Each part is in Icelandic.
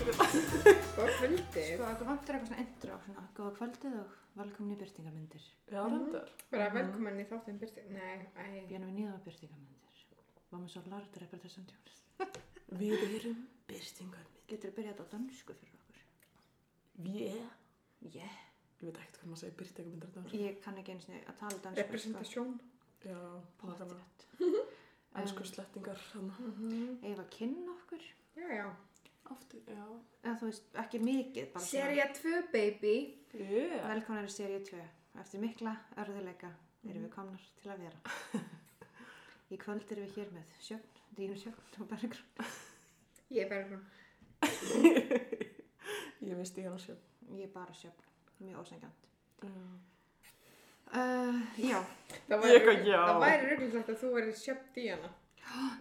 Góð kvöldi. Sko, okkur vantur eitthvað svona intro, svona, góða kvöldið og velkomin í byrtingarmyndir. Já, reyndar. Bara velkomin í þáttinn byrti. Nei, æ. Björnum við nýða byrtingarmyndir. Váma svo lardur að breyta samtjónus. Við erum byrstingarmið. Getur að byrja þetta á dansku fyrir okkur? Við erum. Yeah. Ég veit ekkert hvað maður segir byrstingarmyndir þetta. Ég kann ekki eins og að tala sko. dansku. Representasjón. Já, Pótið. bara ennsku slettingar hann. Ef að kynna Um, okkur. Já, já. Aftur, já. Eða þú veist, ekki mikið. bara svona- Serja 2, baby. Yeah. Velkomin í seríu 2. Eftir mikla örðuleika erum við komnar til að vera. Í kvöld erum við hér með sjöfn, dýnu sjöfn og bergrún. Ég er bara svona. Ég veist ég hann sjálf. Ég er bara sjöfn, mjög ósengjant. Já. Uh, já, Það Ég eitthvað, já. það væri rugglilegt að þú verið sjöpt í hana.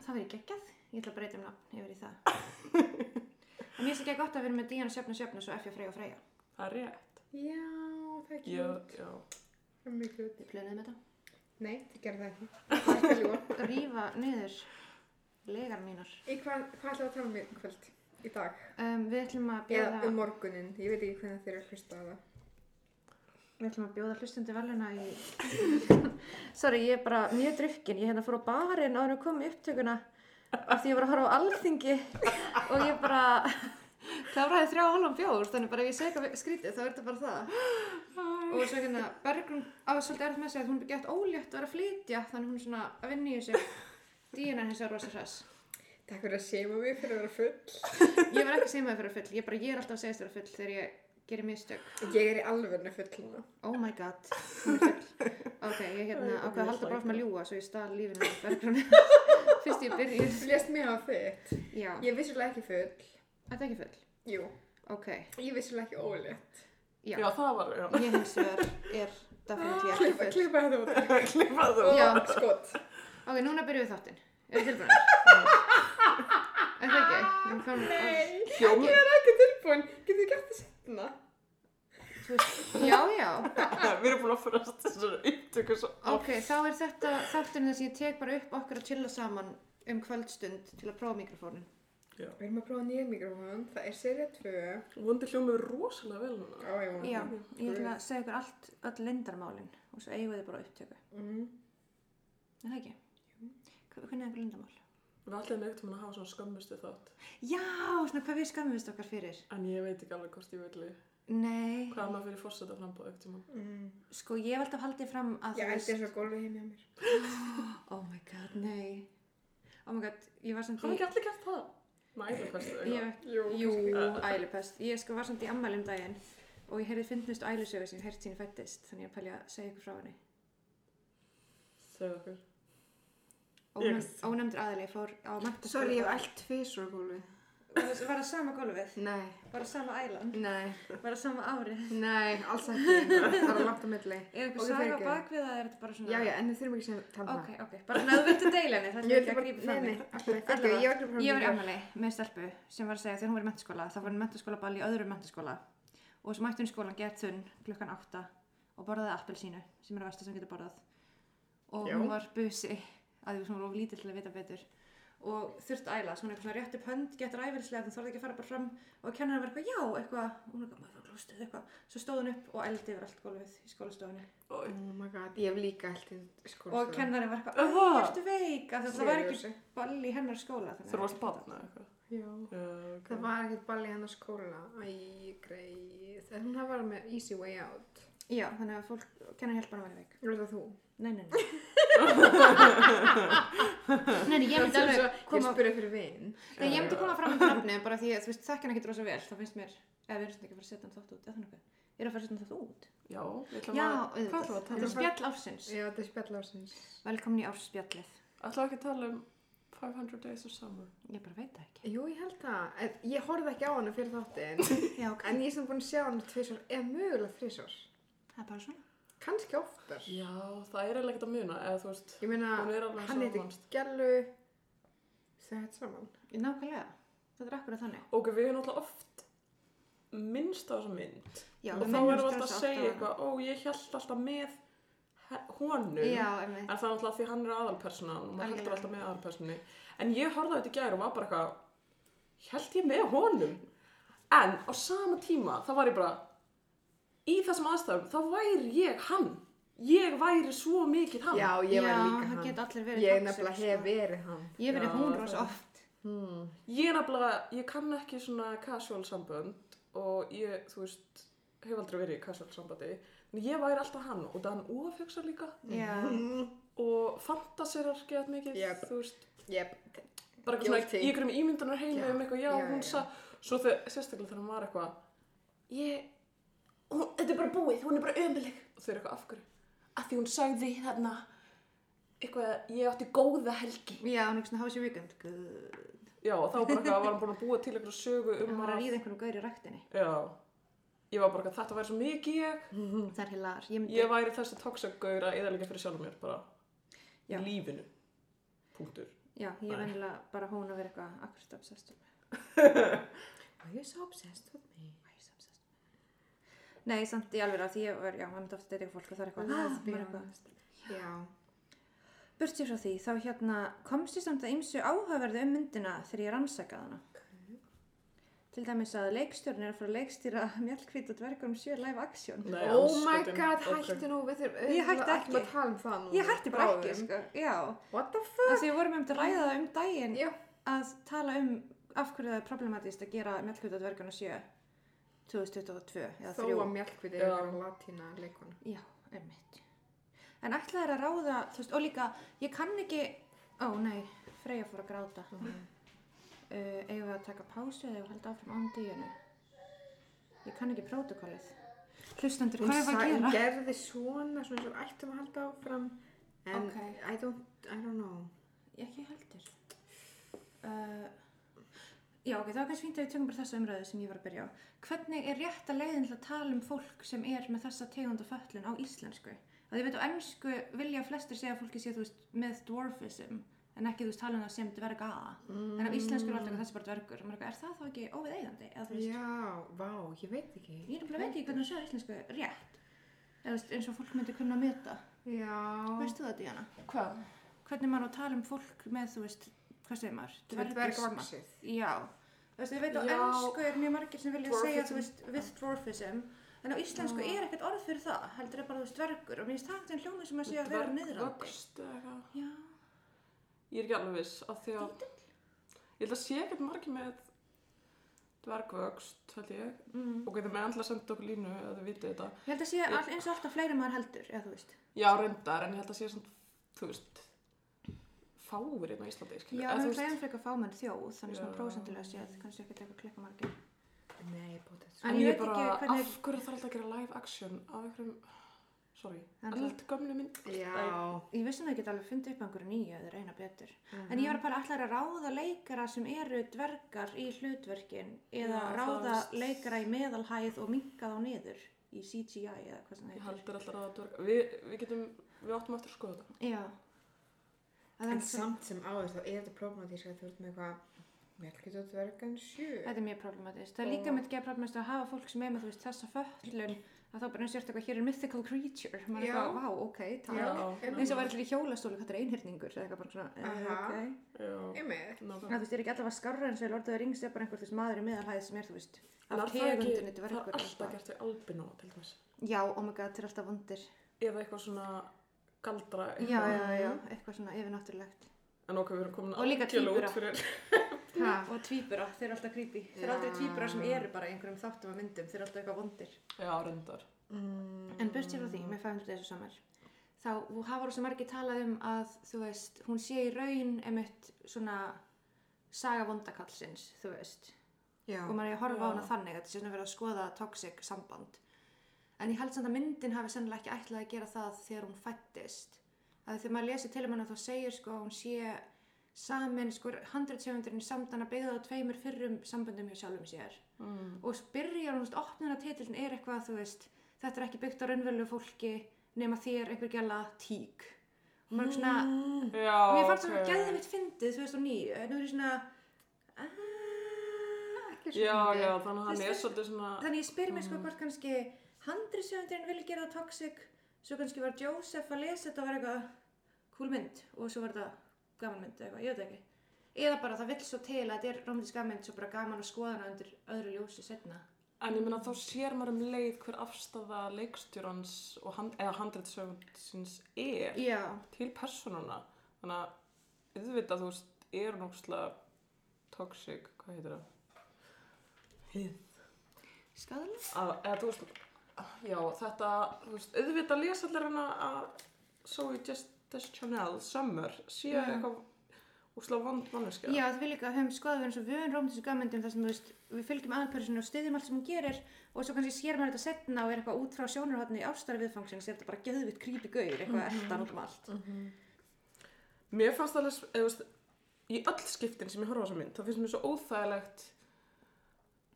það verður geggjað. Ég ætla að breyta um nafn yfir í það. En mér finnst ekki gott að vera með dýnu sjöfn og sjöfn og svo F.J. Freyja og Freyja. Það er rétt. Já, það er Já, kjút. já. Það er mjög kjút. Við plöðum þetta. Nei, þið gerðu það ekki. Það er ekki ljúa. Rífa niður legar mínar. Í hvað, hvað ætlum við að tala um í kvöld? Í dag? Um, við ætlum að Eða bjóða, um morgunin? Ég veit ekki hvernig þeir eru að hlusta á það. við ætlum að bjóða hlustundi veluna í... Sorry, ég er bara mjög drukkin. Ég hérna fór á barinn áður en kom í upptökuna af því ég var að horfa á alþingi og ég bara kláraði þrjá hálfum bjóður þannig bara ef ég segja skrítið þá er þetta bara það. og svo hérna Bergrún á svolítið erð með sig að hún er gett ólétt að vera að flytja þannig hún er svona að vinna í þessu díunan hins er rosa hress Takk fyrir að seima mig fyrir að vera full. ég var ekki að segja maður fyrir full ég bara ég er alltaf að segja þess full þegar ég gerir mistök Ég er í alvörnu full núna. oh my god hún er full ok ég hérna ákveð að halda bara áfram að ljúa svo ég stað lífinu af Bergrún fyrst ég byrjuð Þú lést mig hafa þitt. já Ég er vissulega ekki full. þetta er ekki full Jú, ok ég er vissulega ekki ólétt. já, Já, það var, já. ég hins vegar er definitíð ekki Klippa, full klippa þetta út. Klippa þú. Já. Og skott. ok núna byrjuð við þáttinn eru tilbúinir er það ekki Við komum- Nei, Hljómur. ég er ekki tilbúin. Getur þið gert það setna? Þú veist, já já Við erum búin að fyrir þessari upptöku svo. Ok, þá er þetta þátturinn þess að ég tek bara upp okkur að chilla saman um kvöldstund til að prófa mikrofónin. Já. Við erum að prófa nýja mikrofón. Það er serið 2. Vondi hljómið rosalega vel núna. Á, ég vona Já, það. ég ætla að segja ykkur allt, öll lindarmálin og svo eigum við þið bara á upptöku. Mm. Er það ekki? Hva- Hvernig er einhver lindarmál? Við ætlum ekkert að hafa svona skammustu þátt. Já, svona hvað við skammumist okkar fyrir. En ég veit ekki alveg hvort ég villi. Nei, Hvað er maður fyrir fórseta frambóð ekkert tíma? Mm. sko ég hef alltaf haldið fram að Ég eldi þess að gólfi heim hjá mér. Oh my god, nei. Oh my god, ég var samt Hafa í... ekki allir gert það? Mæður hverstu Ég eitthvað? hef Jú, Jú, kannski. ælupest. Ég sko var samt í ammæli um daginn og ég heyrði fyndnustu ælusögu sem ég heyrði sín fættist, þannig ég er að pælja að segja ykkur frá henni. Segðu okkur. Ónefnd- Ég- Ónefndur aðili fór á mentaskóla. Sorry, ég hef eld tvisur á gólfi. Var það- var það sama gólfið? Nei, Var það sama ælan? nei, Var það sama árið? nei, alls ekki. Það er langt á milli. Er Ok, eitthvað saga á fyrirgefðu. bakvið það er þetta bara svona? Já, já, en við þurfum ekki að tala um Ok, ok. Bara svona að þú viltu deila henni, það það. er Ég ekki vil að bara, grípa nei, fram nei, í. alltaf, ekki, Allavega. ég var ekki frá Ég var í ammali með stelpu sem var að segja þegar hún var í mentaskóla, það var mentaskólaball í öðrum mentaskóla og svo mætti hún í skólan gett þunn klukkan 8 og borðaði appelsínu sem er að versta sem getur borðað og Já. hún var busi að því hún var of lítill til að vita betur og þurft æla, svo hún er eitthvað svona rétt upp hönd gett ræfilslega, þannig þorði ekki að fara bara fram og kennarinn var eitthvað, já, eitthvað, og hún er eitthvað, maður var glústuð eitthvað svo stóð hún upp og eldi yfir allt gólfið í skólastofunni Oj. Oh my god, ég hef líka eld í skóla. og kennarinn var eitthvað, Aha. "Æ, ertu veik af því að það var ekki ball í hennar skóla þannig að- Þeir varst batna eitthvað. Já. Já, ok. Það var ekkert ball í hennar skóla. Æ, greið. Það hún hafa verið með Easy Way Out. Já, þannig að fólk, kennan hjálpa hann að vera veik. Þú veist það þú. Nei, nei, nei. nei, nei, ég myndi Það er alveg svo- koma, Ég spurði fyrir vin. nei, ég myndi koma fram með nafni bara því að þú veist, þekk hann ekkert rosa vel, þá finnst mér, eða við erum svona ekki að fara að setja hann þátt út, eða þannig að, ég er að fara að setja hann þátt út. Já, við ætlum Já, að... Hvað ætlum auðvitað. við að Þetta tala er um? spjall ársins. Já, þetta er spjall ársins. Velkomin í ársspjallið. Ætlum við ekki að tala um 500 Days of Summer? Ég bara veit það ekki. Jú, ég held það. En Ég horfði ekki á hana fyrir þáttinn. Já, ok. en ég er sem búin að sjá hana tvisvar, eða mögulega þrisvar. Það er bara svona. Kanski oftar. Já, það er eiginlega ekkert að muna, eða þú veist... Ég Ah, Hún meina, er alveg hann eins og heiti mannst. Gjallu. Þau hætti saman. Nákvæmlega. Þetta er akkur þannig. Ok, við erum alltaf oft minnst á þessa mynd. Já, og þá við minnumst erum við alltaf að þess oft á segja hana. eitthvað, ó, ég held alltaf með he- honum. Já, emmi. En það er alltaf því hann er aðalpersonan og maður heldur Algjörlega. alltaf með aðalpersonni. En ég horfði á þetta í gær og var bara eitthvað, held ég með honum? en á sama tíma þá var ég bara í þessum aðstæðum þá væri ég hann ég væri svo mikið hann Já, ég var Já, líka það hann. geta allir verið Ég toxic, nefnilega sko. hef verið hann. Ég hef verið Já, hún það- rosa oft. Hmm. ég er nefnilega, ég kann ekki svona casual sambönd og ég, þú veist hef aldrei verið í casual sambandi en ég væri alltaf hann og það hann ofjöksar líka Mhm. Já. og fantasirar gett mikið Yep. þú veist, Yep. bara eitthvað svona Guilty. í ykkurum ímyndunar heimi Já. um eitthvað, já, Já, hún já. sa svo þegar, sérstaklega þegar hún var eitthvað ég, hún, þetta er bara búið hún er bara ömuleg, og þeir eru eitthvað af hverju af því hún sagði þarna eitthvað, ég átti góða helgi Já, hún er ekki svona hafið sér vikend. Guð. já, og þá bara eitthvað, var hann búin að búa til eitthvað sögu Hún um var að að, ríða einhverjum gaur í ræktinni. já ég var bara eitthvað, þetta væri svo mikið ég Það er hilar. Mm. Ég myndi... ég væri þessi toxagaur að eða líka fyrir sjálfum mér bara, Já. í lífinu punktur Já, ég Nei. er venjulega bara hún að vera eitthvað akkurat obsessed. um Are with me. you so obsessed with me? Why are you so obsessed with me? Nei, samt í alveg að því ég var, já, maður myndi ofta deyta eitthvað fólk og það er eitthvað, "Ah, Let's be maður er eitthvað, honest. Já. Burt ég frá því, þá hérna komst ég samt að ymsu áhugaverðu um myndina þegar ég rannsakaði hana. Mhm. Til dæmis að leikstjórn er að fara að leikstýra mjallkvít og dvergum sjö live action. Nei, oh my andskotinn, god, ok. hættu nú við þurfum Ég hætti við ætlum ekki. að tala um það nú. Ég hætti bara ekki, bráðum. sko. Já, What the fuck? þannig að við vorum um til að ræða það um daginn Já. að tala um af hverju það er problematist að gera mjallkvít og dvergum sjö 2022 eða Þó að 3. mjölkviti Já. er latína leikona. Já, einmitt. En ætlaði að ráða, þú veist, og líka, ég kann ekki, ó nei, Freyja fór að gráta. uh, eigum við að taka pásu eða eigum við að halda áfram án díunu ég kann ekki prótokollið hlustendur, hvað er það að Hún gera? gerði svona, svona sem ættum að halda áfram. En Ok. I, don't, I don't know. ég ekki heldur uh, já ok, það var kannski fínt að við tökum bara þessa umræðu sem ég var að byrja á hvernig er rétta leiðin til að tala um fólk sem er með þessa tegund og föllun á íslensku að ég veit á ennsku vilja flestir segja að fólki sé þú veist með dwarfism en ekki þú veist tala um það sem dverga en á Mm. íslensku er alltaf eitthvað, þessi er bara dvergur Maður er eitthvað, er það þá ekki óvið eigandi? Eða, þú veist, Já, vá, ég veit ekki. Ég er bara veit ekki hvernig að segja íslensku rétt eða þú veist, eins og fólk myndi kunna að meta Já. Veist þú það, Díana? Hvað? Hvernig maður á að tala um fólk með, þú veist, hvað segir maður? Dvergisma. Dvergvaksið. Já Þú veist, ég veit á Já. ennsku er mjög margir sem vilja segja, Dwarfism. þú veist, with dwarfism en á íslensku Já. er ekkert orð fyrir það heldur er bara, þú veist, dvergur og mér finnst það einhvern veginn hljóma sem að segja að vera niðrandi Dvergvöxt eða eitthvað. Já, Ég er ekki alveg viss af því að dítill ég held að sé ekkert margir með dvergvöxt held ég mm. ok, þið með andla senda okkur línu eða þið vitið þetta Ég held að segja all, eins og alltaf fleiri en maður heldur, eða þú veist já, reyndar, en ég held að sé samt, þú veist fáir einn á Íslandi skilur, Já, eða þú við erum veist- hlæðan frekar fámenn þjóð þannig svona Já. prósendilega séð, kannski ekkert eitthvað klikka margir Nei, sko. bótið. En en ég ég veit er bara, ekki hvernig- af hverju þarf alltaf að gera live action af einhverjum, sorry En það- eldgömmu mynd Já. Ég vissum að ég get alveg fundið upp einhverju nýju eða reyna betur. Mhm. En ég var bara allar að ráða leikara sem eru dvergar í hlutverkin eða Já, ráða það er- leikara í meðalhæð og minka þá niður í CGI eða hvað sem það ég heitir. heldur alltaf að dverg við, við getum, við áttum eftir að skoða þetta Já. Að En það- samt sem áður þá er þetta problematísk að þú ert með eitthvað mjölkviti og dvergan sjö. Þetta er mjög problematist. Það er líka mitt geða problematist að hafa fólk sem er með þú veist, þessa föllun að þá bara eins og ert eitthvað hér er mythical creature. Man er Já. eitthvað, vá, ok, takk. Já. Eins og væri allir í hjólastólu, hvað er einhyrningur? Eða eitthvað bara svona, eh, Aha. ok. já, Ég með. Það, þú nákvæmlega. veist, er ekki allavega skarra eins og í Lord of the Rings er bara einhver þú veist, maður í miðalhæð sem er, þú veist, En er af það ekki- tegundinni það er dvergur. alltaf gert við albino til dæmis Já, oh omega, þetta er alltaf vondir. eða eitthvað svona galdra Já, eitthvað. já, já, eitthvað svona yfirnáttúrulegt. en okkur við erum komin Og líka algjörlega tvíbura. út fyrir Ha, Og tvíbura, þeir eru alltaf creepy. Þeir eru Já. aldrei tvíbura sem eru bara í einhverjum þáttum og myndum, þeir eru alltaf eitthvað vondir. já, reyndar mm, En burt sér frá því, með 500 þessu samar, þá þú hafa rosa margir talað um að, þú veist, hún sé í raun emitt svona saga vondakallsins, þú veist. já. og maður er að horfa á Já. hana þannig að þetta sé svona verið að skoða toxic samband en ég held samt að myndin hafi sennilega ekki ætlað að gera það þegar hún fættist að þegar maður lesi til um hana þá segir sko að hún sé samin sko 170 samtana byggða á tveimur fyrrum samböndum hjá sjálfum sér mm. og byrjar hún opnuna titillin er eitthvað þú veist þetta er ekki byggt á raunverulegu fólki nema þér einhver gæla tík og maður er svona Mm. já, og mér fannst ok. það okay. gæðið mitt fyndið 2009 en nú er ég svona "Ah, aaaah Ekki svo já, fyndið. já, þannig að hann Þú er veist, svolítið svona Þannig ég spyr mér sko hvort kannski handriðsjöfundurinn vilja gera það toxic svo kannski var Joseph að lesa þetta og var eitthvað cool mynd og svo var þetta gaman mynd eða eitthvað, ég veit það ekki eða bara það vill svo til að þetta er romantíska mynd svo bara gaman að skoða hana undir öðru ljósi setna En ég meina þá sér maður um leið hver afstafa leikstjórans og hand, eða handreitsöfundsins er Já, til persónuna. Þannig að auðvitað þú veist, er náttúrulega toxic, hvað heitir það? Hið. skadalega Að, eða þú veist, já þetta, þú veist, auðvitað lesa allir hana að Zoe Just, Just Chanel, Summer, sé Já. eitthvað úrslega vond manneska. Já, það vil ekki að höfum skoðað við erum svo vön romantísku gammyndum þar um sem þú veist, við fylgjum aðalpersonu og styðjum allt sem hún gerir og svo kannski sér maður þetta setna og er eitthvað út frá sjónarhóttni ástarviðfangsins er þetta bara geðvitt creepy gaur, eitthvað eldan út um allt Mér fannst alveg, eða þú veist, í öll skiptin sem ég horfa á þessa mynd, þá finnst mér svo óþægilegt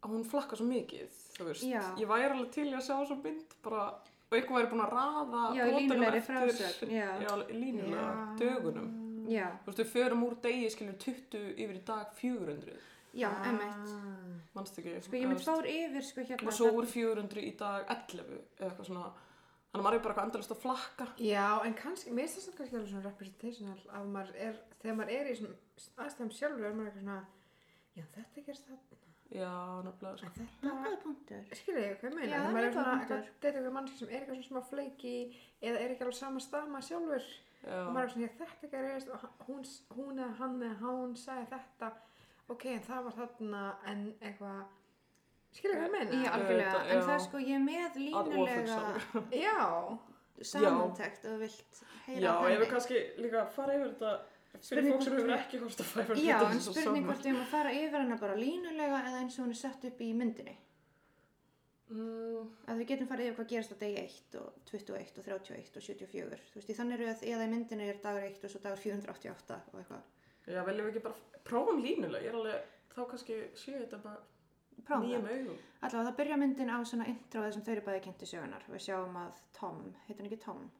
að hún flakkar svo mikið, þú veist. Já. Ég væri alveg til í að sjá þessa mynd bara, og eitthvað væri búin að raða Já, í brotunum línulegri eftir- frásögn, já. Já, línulega, Já. dögunum. Já, Þú veist, við förum úr degi, skiljum 20 yfir í dag 400, já, emmitt Ah. mannstu ekki? Sko ég mynd fór yfir sko hérna Og svo það- úr 400 í dag 11, eða eitthvað svona. Þannig að maður er bara eitthvað endalist að flakka. Já, en kannski, mér finnst það kannski alveg svona representational að maður er, þegar maður er í svona aðstæðum sjálfur er maður eitthvað svona já, þetta gerst það, Já, nefnilega, sko. en þetta Nákvæmlega punktur. skilur ég hvað ég meina, Já, þegar maður er það er svona góð eitthvað, punktur. þetta er eitthvað mannski sem er eitthvað svona smá fleiki eða er ekki alveg sama stama sjálfur Já. og maður er svona, já, þetta gerist og hún, hún eða hann eða hún sagði þetta ok, en það var þarna en eitthvað, skilur ég hvað ég meina Já, Ég algjörlega, veit það, en já. það er sko ég er með Að línulega ofursál. já, samantekt og þú vilt heyra Já, af ég vil henni. kannski líka fara yfir þetta fyrir Spurning fólk sem hvort hefur við- ekki hort að fæfa Já, en spurning hvort við erum að fara yfir hana bara línulega eða eins og hún er sett upp í myndinni mm, að við getum farið yfir hvað gerast á degi 1 og 21 og 31 og 74 þú veist, í þannig eru að eða í myndinni er dagur 1 og svo dagur 488 og eitthvað Já, viljum við ekki bara prófum línulega Ég er alveg, þá kannski sé ég þetta bara Prófum það. nýjum augum Allavega það byrja myndin á svona introðið sem þau eru bæði kynnti sögunar við sjáum að Tom, heitir hann ekki Tom?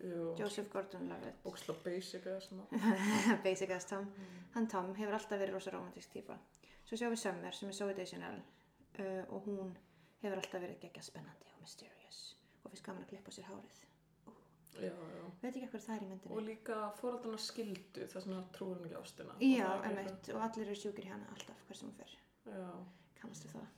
Jú, Joseph Gordon-Levitt óksla basic eða sem að basic as Tom Mm. hann Tom hefur alltaf verið rosa romantísk típa svo sjáum við Summer sem er Zoe Deschanel uh, og hún hefur alltaf verið geggja spennandi og mysterious og finnst gaman að klippa á sér hárið Já, já veit ekki hvað það er í myndinni Og líka fóraldarna skildu þess að trúir hann ekki á ástina Og já, það er eitthvað- emitt, og allir eru sjúkir í hana alltaf hver sem hún fer, Já, kannast við það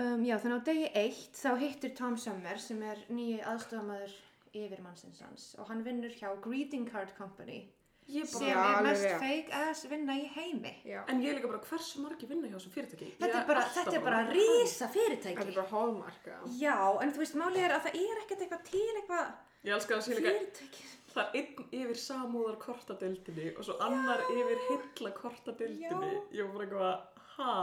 um, já, þannig á degi eitt þá hittir Tom Summer sem er nýju aðstofamæður yfir mannsins hans og hann vinnur hjá Greeting Card Company ég sem bara Já, er alveg mest rétt. fake ass vinna í heimi já, En ég er líka bara, hversu margi vinna hjá þessum fyrirtæki? Ég Þetta er bara, alltaf þetta er bara rísa fyrirtæki. þetta er bara hallmarka Já, en þú veist, málið er að það er ekkert eitthvað til eitthvað Ég elska að sé líka fyrirtæki. sko. Það er einn yfir samúðar kortadeildinni og svo annar yfir heilla kortadeildinni. Ég var bara eitthvað, ha?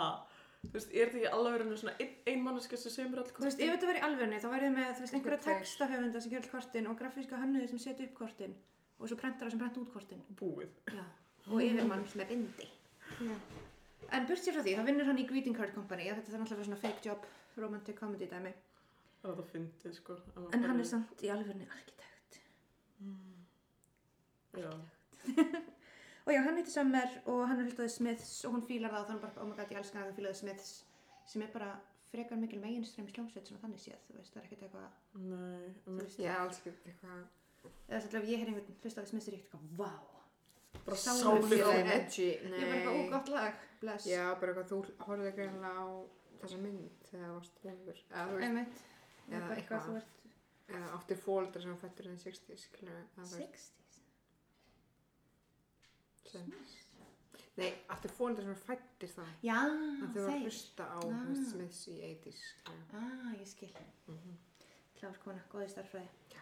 Þú veist, er þetta ekki alveg verið svona ein, ein manneska sem semur all Þú veist, ef þetta væri í alvörni, þá værið með, þú veist, einhverja Einhver tveir. textahöfunda sem gerir kortin og grafíska hönnuði sem setja upp kortin og svo prentara sem prenta út kortin. búið? Já. Og yfirmann sem er bindi. Já. En burt sér frá því, þá vinnur hann í Greeting Card Company og þetta er náttúrulega svona fake job, romantic comedy dæmi. Það er þetta fyndið, sko. En hann er samt í alvörni arkitekt. Mm. Já, Og já, hann heitir Summer og hann er hlustaði Smiths og hún fílar það og þannig bara, oh my god, ég elska hann að hann fílaði Smiths sem er bara frekar mikil meginströms hljómsveit svona þannig séð, þú veist, það er ekkert eitthvað, nei. þú Um, veist, já, alls getur eitthvað eða þess að ef ég heyr einhvern hlustaði Smiths er ég ekkert eitthvað, vá, bara Sálir- sálir Já, á Sálir- edgy, nei ég er bara eitthvað ógott lag, bless, Já, bara eitthvað, þú horfði greinlega á þessa mynd þegar það varst lengur. Eða þú veist, einmitt, Eða eða eitthvað, eitthvað. þú ert eða átti fóldra sem fættur enn 60, skilur við, það veist, 60s, sem... Nei, átti fóldra sem fættur þá. já, Það þau var að Ah, þeir, hlusta á Ah. ah. Smiths í 80s, skilur við. ah, ég skil, Mm -hmm. klár kona, sko góði starffræði. Já.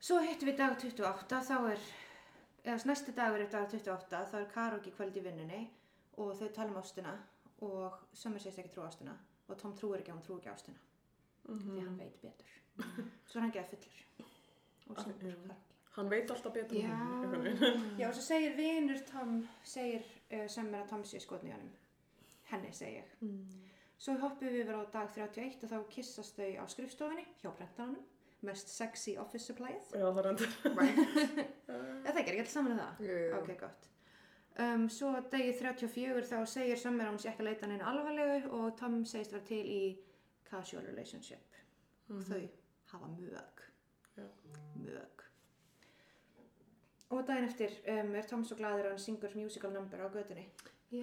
Svo hittum við dag 28, þá er, eða næsti dagur er dag 28, þá er karaoke kvöld í vinnunni og þau tala um ástina og Summer segist ekki trú ástina og Tom trúir ekki að hún trú ekki á ástina því hann Mhm. veit betur. Svo er hann geða fullur og Ah, syngur já. karaoke. Hann veit alltaf betur Já. einhvern veginn. Já, og svo segir vinur Tom, segir uh, Summer að Tom sé skotni í honum. Henni segi ég. Mm. Svo hoppum við yfir á dag 31 og þá kissast þau á skrifstofinni hjá prentanum, mest sexy office supplyið. Já, það er endur. Eða það gerir ekki alls saman um það? Jú, Ok, gott. Um, svo degi 34 þá segir Summer að hún sé ekki að leita hann einu alvarlegu og Tom segist vera til í casual relationship. Mhm. Þau hafa mög. Já. Mög. Og daginn eftir um, er Tom svo glaður að hann syngur musical number á götunni. Já,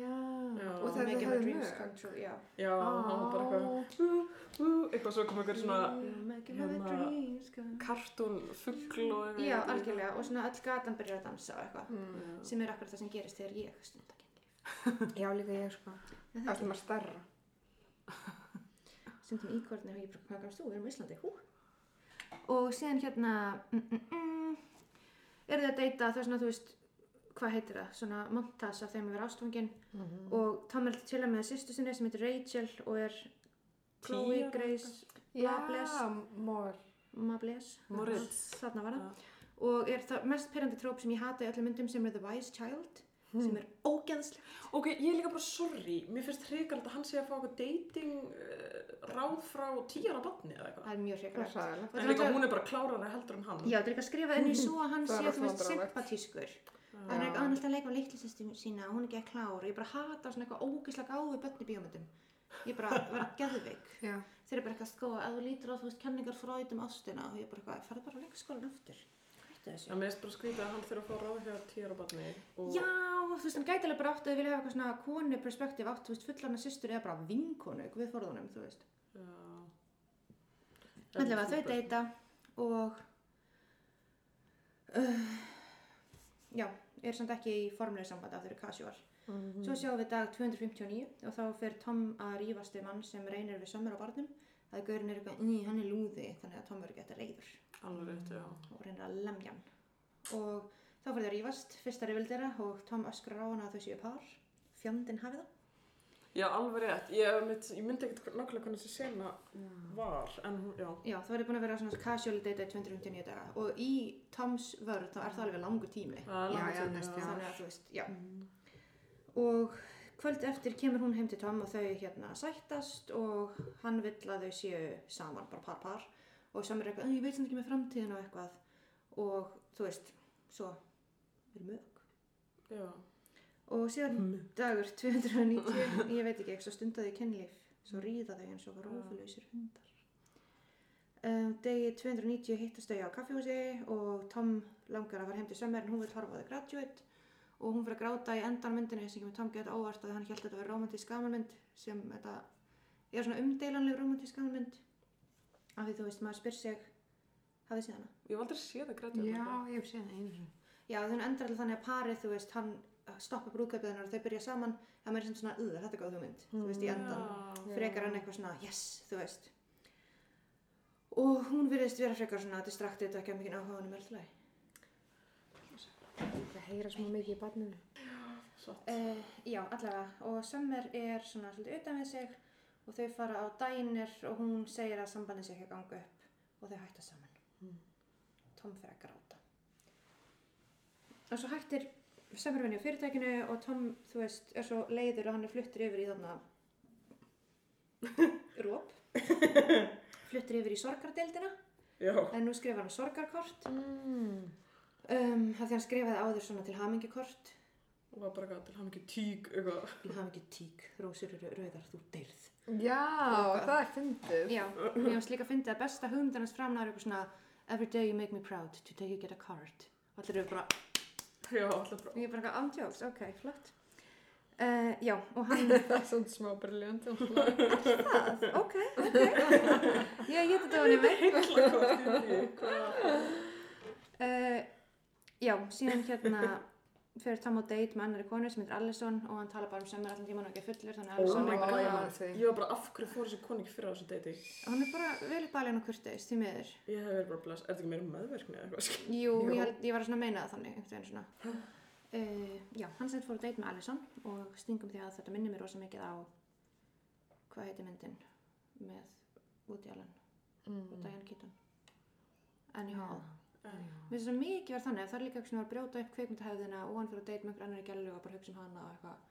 Já. og það er Making það my er dreams mjög. come true, já. sko. Já, hann var bara eitthvað, ú, eitthvað svo kom einhver svona Making my Hérna- dreams come true. kartún, fuggl og eitthvað. Já, algjörlega. Og svona öll gatan byrjar að dansa og eitthvað. Mm. Já. Sem er akkur það sem gerist þegar ég stunda kynlíf. Já, líka ég sko. En það Það er er maður starra. ekki stundum íkvörðin og ég bara, hvað gafst þú? Við erum á Íslandi, hú. Og síðan hérna, mm, mm, mm, eru þið að deyta það er svona, þú veist, hvað heitir það? Svona montas af þeim að vera ástfangin. Mhm. og Tom er til að með sýstu sinni sem heitir Rachel og er Chloe Tíu ára Grace Já, Bless. mór. Mables Moritz. þarna var það og er það mest perandi tróp sem ég hata í öllum myndum sem er The Wise Child sem er ógeðsleg Ok, ég er líka bara sorry, mér finnst hrikalegt að hann sé að fá eitthvað dating uh, ráð frá tíjara batni eða eitthvað. það er mjög Það er hrekulegt sæðilegt. En líka hún er bara klárarni heldur en hann. Já, það er líka skrifað inn í svo að hann Það er sé, þú alltaf veist, vandræðalegt. sympatískur. Já. Hann er ekki annars að leika á leiklisestum sína og hún er ekki að klára. Ég bara hata svona eitthvað ógeðslega gáðu bönni bíómyndum. Ég bara var geðveik. Já. Þeir eru bara eitthvað sko, að þú lítur á, þú veist, kenningar fræðum ástina og ég bara eitthvað, farðu bara á leikskólan aftur. Hættu þessu. En mér finnst bara skrítið að hann þurfa að fá ráð hjá tíjara batni. Og... Já, þú veist, hann gæti alveg bara átt að þið vilja hafa eitthvað svona konu perspektíf átt, þú veist, fullan að systur eða bara vinkonu, við forðunum, þú veist. Já. Allavega þau deyta og, uh, já, er samt ekki í formlega sambandi af þeirri casual. Mhm. Svo sjáum við dag 259 og þá fer Tom að rífast við mann sem reynir við sömur á barnum. Það er gaurinn er eitthvað, ný, hann er lúði, þannig að Tom verður gett reyður Alveg rétt, já. og reynir að lemja hann. Og þá fyrir þau að rífast, fyrsta reyfild þeirra og Tom öskrar á hana að þau séu par, fjandinn hafi það. Já, alveg rétt. Ég, mitt, ég myndi ekkert nákvæmlega hvernig þessi sena Mm. var, en hún, já. Já, það verður búin að vera svona casual data í 259 daga og í Toms vörð þá er það alveg langur tími Það er Já, langt já, síðan, næst, þannig að þú veist, já og kvöld eftir kemur hún heim til Tom og þau hérna sættast og hann vill að þau séu saman, bara par-par og samir eitthvað, "Æ, ég veit sem ekki með framtíðin og eitthvað og þú veist, svo er mög Já. og síðan Mm. dagur 290, ég veit ekki, svo stundaði kennlíf, svo ríða þau eins og rófulausir hundar. Um, degi 290 hittast þau á kaffihúsi og Tom langar að fara heim til sömmer en hún vil horfa á The Graduate og hún fyrir að gráta í endan á myndinni sem kemur Tom geta óvart að hann held að þetta var romantísk gamanmynd sem þetta er svona umdeilanleg romantísk gamanmynd af því þú veist maður spyr sig hafið séð hana? Ég hef aldrei séð það hérna. grætið. Já, ég hef séð það einu sinni. Já, þannig endar alltaf þannig að parið, þú veist, hann stoppar brúðkaupið hennar og þau byrja saman, það meira sem svona, uð, þetta er góð hugmynd, þú veist, í endan. Frekar hann eitthvað svona, yes, þú veist. Og hún virðist vera frekar svona distraktið og ekki að mikið áhuga á honum öll lagi. Það heyra smá mikið í barninu. Satt. Uh, já, allavega, og Summer er svona svolítið utan við sig og þau fara á dænir og hún segir að sambandið sé ekki að ganga upp og þau hætta saman. Mm. Tom fer að gráta. Og svo hættir Summer venni á fyrirtækinu og Tom, þú veist, er svo leiður og hann er fluttur yfir í þarna róp. fluttur yfir í sorgardeildina Já. en nú skrifar hann sorgarkort Mm. um, af því hann skrifaði áður svona til hamingjukort Og var bara eitthvað til hann ekki tík, eitthvað. Ég haf ekki tík, rósir eru rauðar, þú deyrð. Já, það er fyndið. Já, mér finnst líka að fyndi að besta hugmyndin hans framnar eitthvað svona Every day you make me proud, today you get a card. Og allir eru bara, Já, alltaf bara. ég er bara eitthvað andjóks, ok, flott. Uh, já, og hann, Það er svona smá briljant. það, ok, ok. Ég geti þetta á henni með. Heilla hvort í því. Hvað? Uh, já, síðan hérna fyrir Tom á date með annari konu sem heitir Allison og hann tala bara um semmer allan tíman og ekki er fullur þannig að Oh Allison my er bara- god. Ég var bara, af hverju fór þessi koni ekki fyrir á þessu deiti? Hann er bara vel upp aðlega og kurteis, því miður. Ég hef verið bara bless. Er þetta ekki meira meðverkni eða eitthvað? skil? Jú, Jú. Ég, held, ég var að svona meina það þannig, einhvern veginn svona. Uh, já, hann sem fór að date með Allison og stingum því að þetta minnir mér rosa mikið á, hvað heitir myndin með Woody Allen Mm. og Diane Keaton. Anyhow. Mér finnst svo mikið verð þannig að það er líka eitthvað sem var að brjóta upp kveikmyndahefðina og hann fyrir að date með einhver annar í gælu og bara hugsa um hana og eitthvað,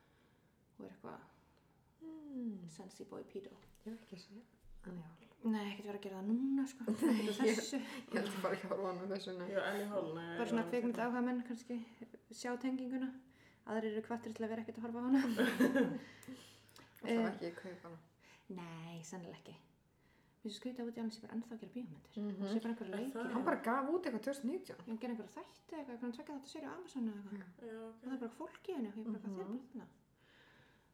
og er eitthvað sensi boy pedo. Mm. Ég hef ekki séð. Þannig já. Nei, ekkert verið að gera það núna, sko. Nei, þessu. Ég held bara ekki að horfa á hana þessu nei. Já, Ellie Hall, nei. bara svona kveikmynd áhuga menn kannski sjá tenginguna aðrir eru kvartir til að vera ekkert að horfa á hana Eh. Það var ekki í kaupana. nei, sennilega ekki finnst skrítið að Woody Allen sé bara ennþá að gera bíómyndir mm Mhm. sé bara einhverja Er það? leiki Hann hann bara bara gaf út eitthvað 2019. hann gerir einhverja þætti eitthvað hann tvekja þetta séri á Amazon eða eitthvað Já, og það er bara fólk í henni og ég bara hvað þeir Mhm. bara þarna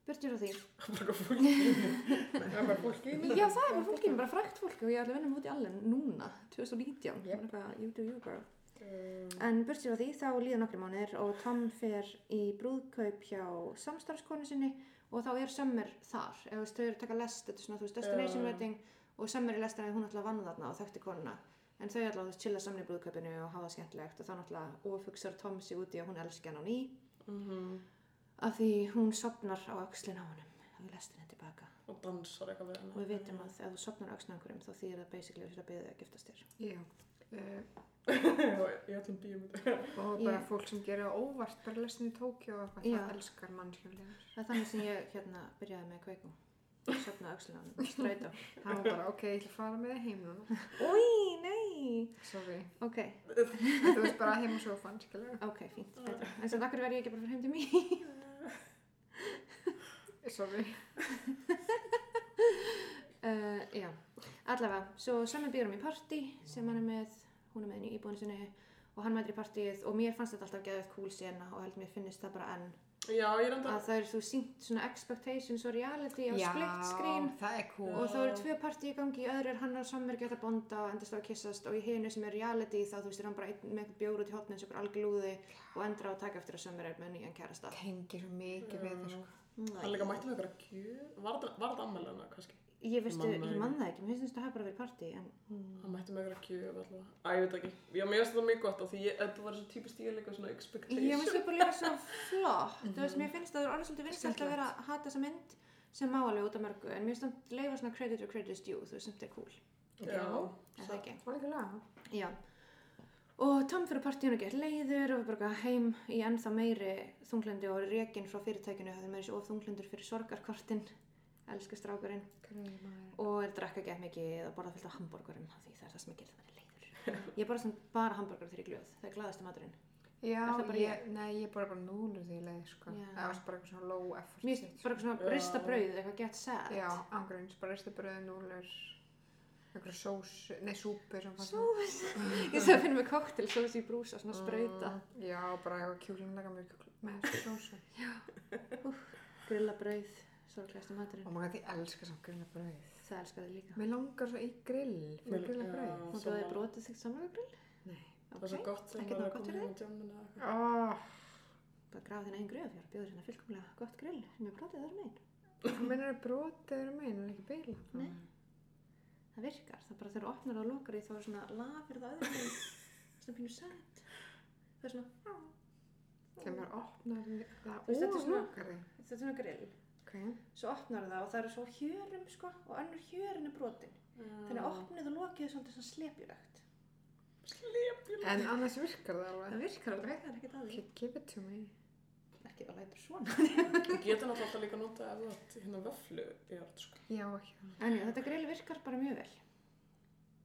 burtur á því Bara fólk í mig. Það var fólk í mig. já það er bara fólk í henni bara frækt fólk og ég ætla að vinna múti allen núna 2019 Yep. yep. eitthvað, you do you girl Ok. En burtsið á því þá líða nokkri mánuðir og Tom fer í brúðkaup hjá samstarfskonu sinni og þá er Summer þar. Eða þú veist, þau eru að taka lest, þetta er svona, þú veist, destination Já. wedding og Summer er lestan að hún alltaf vann þarna og þekkti konuna. En þau alltaf, þú veist, chilla saman í brúðkaupinu og hafa það skemmtilegt og þá náttúrulega ofugsar Tom sig út í að hún elski hann á ný Mhm. af því hún sopnar á öxlin á honum og við lestin henni tilbaka. Og dansar eitthvað við hana. Og við vitum að ef þú sopnar á öxlin á einhverjum þá þýðir það basically að þú sér að beðið að giftast þér. Já. Eh, Já, í öllum bíómyndum. Og bara Ég- fólk sem gerir það óvart, bara lesin í Tókjó og eitthvað, Já. það elskar mannskjöflegar. Það er þannig sem ég hérna byrjaði með kveikum. Sopna á öxlin á honum, strætó. Það var bara, ok, ég ætla að fara með þig heim núna. Úi, nei Sorry. Ok, En Þú veist bara heim og sofann, skilur. ok, fínt, Mm. betra En sem akkur verði ég ekki bara fyrir heim til mín Sorry. uh, Já, allavega Svo saman býður um í partí sem hann er með Hún er með henni í íbúinu sinni Og hann mætir í partíið og mér fannst þetta alltaf geðað cool sena og held mér finnist það bara enn Já, ég reyndar. að það er þú sínt svona expectations og reality á split screen það er cool. og þá eru tvö partí í gangi, í öðru er hann og Sammer geta bonda og endast á að kyssast og í hinu sem er reality þá þú veist er hann bara einn, með einhvern bjór út í hotnin sem er algjörlúði og endra á að taka eftir að Sammer er með nýjan kærasta Tengir svo mikið við það, sko. Hann líka mætti með eitthvað gjöf. Var þetta- var þetta ammæli hennar, kannski? Ég veistu, Man það ég ekki. man það ekki, mér finnst þetta hafa bara verið partí en Mm. Hann mætti með eitthvað gjöf alltaf. Æ, ég veit ekki. Já, mér finnst þetta mjög gott af því ég, þetta var svo típist ég líka svona expectation. ég finnst þetta bara líka svo flott þú veist, mér finnst það er orðið svolítið vinsælt að vera að hata þessa mynd sem má alveg út af mörgu en mér finnst það leifa svona credit or credit is due þú veist, sem þetta er cool, Já. er það ekki? Algjörlega. Já og Tom fyrir partíun og gett leiður og bara heim í ennþá meiri þunglendi og rekin frá fyrirtækinu það er meiri svo of þunglendur fyrir sorgarkortin elska strákurinn Gröðum maður. og er að drakka gett mikið og borða fullt af hambúrgurum af því það er það sem að gera það leiður ég borða svona bara hambúrgur þegar ég er glöð það er glaðasta maturinn Já, Er það bara ég, nei, ég er bara bara núlur því leið, sko. Já. Það var bara eitthvað svona low effort. Mér finnst bara eitthvað svona Já. rista brauð, eitthvað get sad. Já, ángríns, bara ristabröði, núlur, einhverja sós, nei, súpur sem fannst. Sós. Ég þarf að finna mig koktel, sós í brúsa, svona sprauta. Mm, já, bara eitthvað kjúlinglega mjög kjúling Mm. með sósu. Grilla brauð, sorglegasta maturinn. Og maður gæti elska samt grilla bröðið. Það elskar þið líka. Mér langar svo í grill, fyrir Mér- grilla já. bröðið. Og þú Sama. hefði brotið þig saman við grill? Nei. Það var svo Ok, gott sem Ekkert var nóg að koma gott fyrir heim á djamminu eða eitthvað. Oh, bara grafa þín einn gröf, ég var að bjóða þér hérna fylgumlega gott grill sem er brotið þar um megin. mennur að brotið eru meginn en ekki beila. Nei. Það virkar, það bara þegar þú opnar það og lokar því þá er svona lafir það öðrum megin. Svona pínu sad. Það er svona, Þegar maður opnar því- það Þú veist, þetta er og svona- lokar því. þetta er svona grill. Ok. Svo opnar það og það eru svo hjörum sko og önnur hjörin er brotin. Þannig að opnið og lokið er svona, svona slepjulegt. Slepjulega. En annars virkar það alveg. Það virkar alveg, það er ekkert að því. Okay, give it to me. Ekki að læta svona. Þú getur náttúrulega alltaf líka að nota ef þú átt hérna vöflu í orð, sko. Já, ekki það. En já, þetta grill virkar bara mjög vel.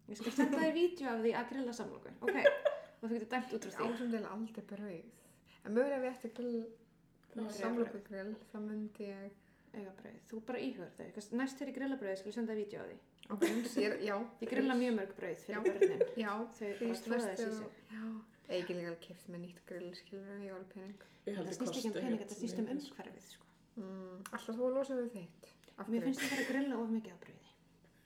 Ég skal senda þér vídeo af því að grilla samloku. Ok, og þú getur dæmt út úr Ég því. ásum til aldrei brauð. En mögulega ef ég ætti grill, Það er samlokku grill, þá myndi ég... Augabröð, þú bara íhugur þau. Kannski Næst þegar ég grilla bröð, skal ég senda þér vídeo af því. Ok, eins, ég, já. Ég grilla mjög mörg bröð fyrir börnin. Já, Þau bara fyrst tróða næstu. þessi í sig. Já. Egin líka kæft með nýtt grill, skilur við, jólpenning. Ég held Það ég snýst ekki um kosti hérna. pening, ekkert þetta snýst um mikið. umhverfið, sko. Mm, alltaf þú að losa við þeitt. Af Mér hverju? finnst það bara að grilla of mikið af bröði.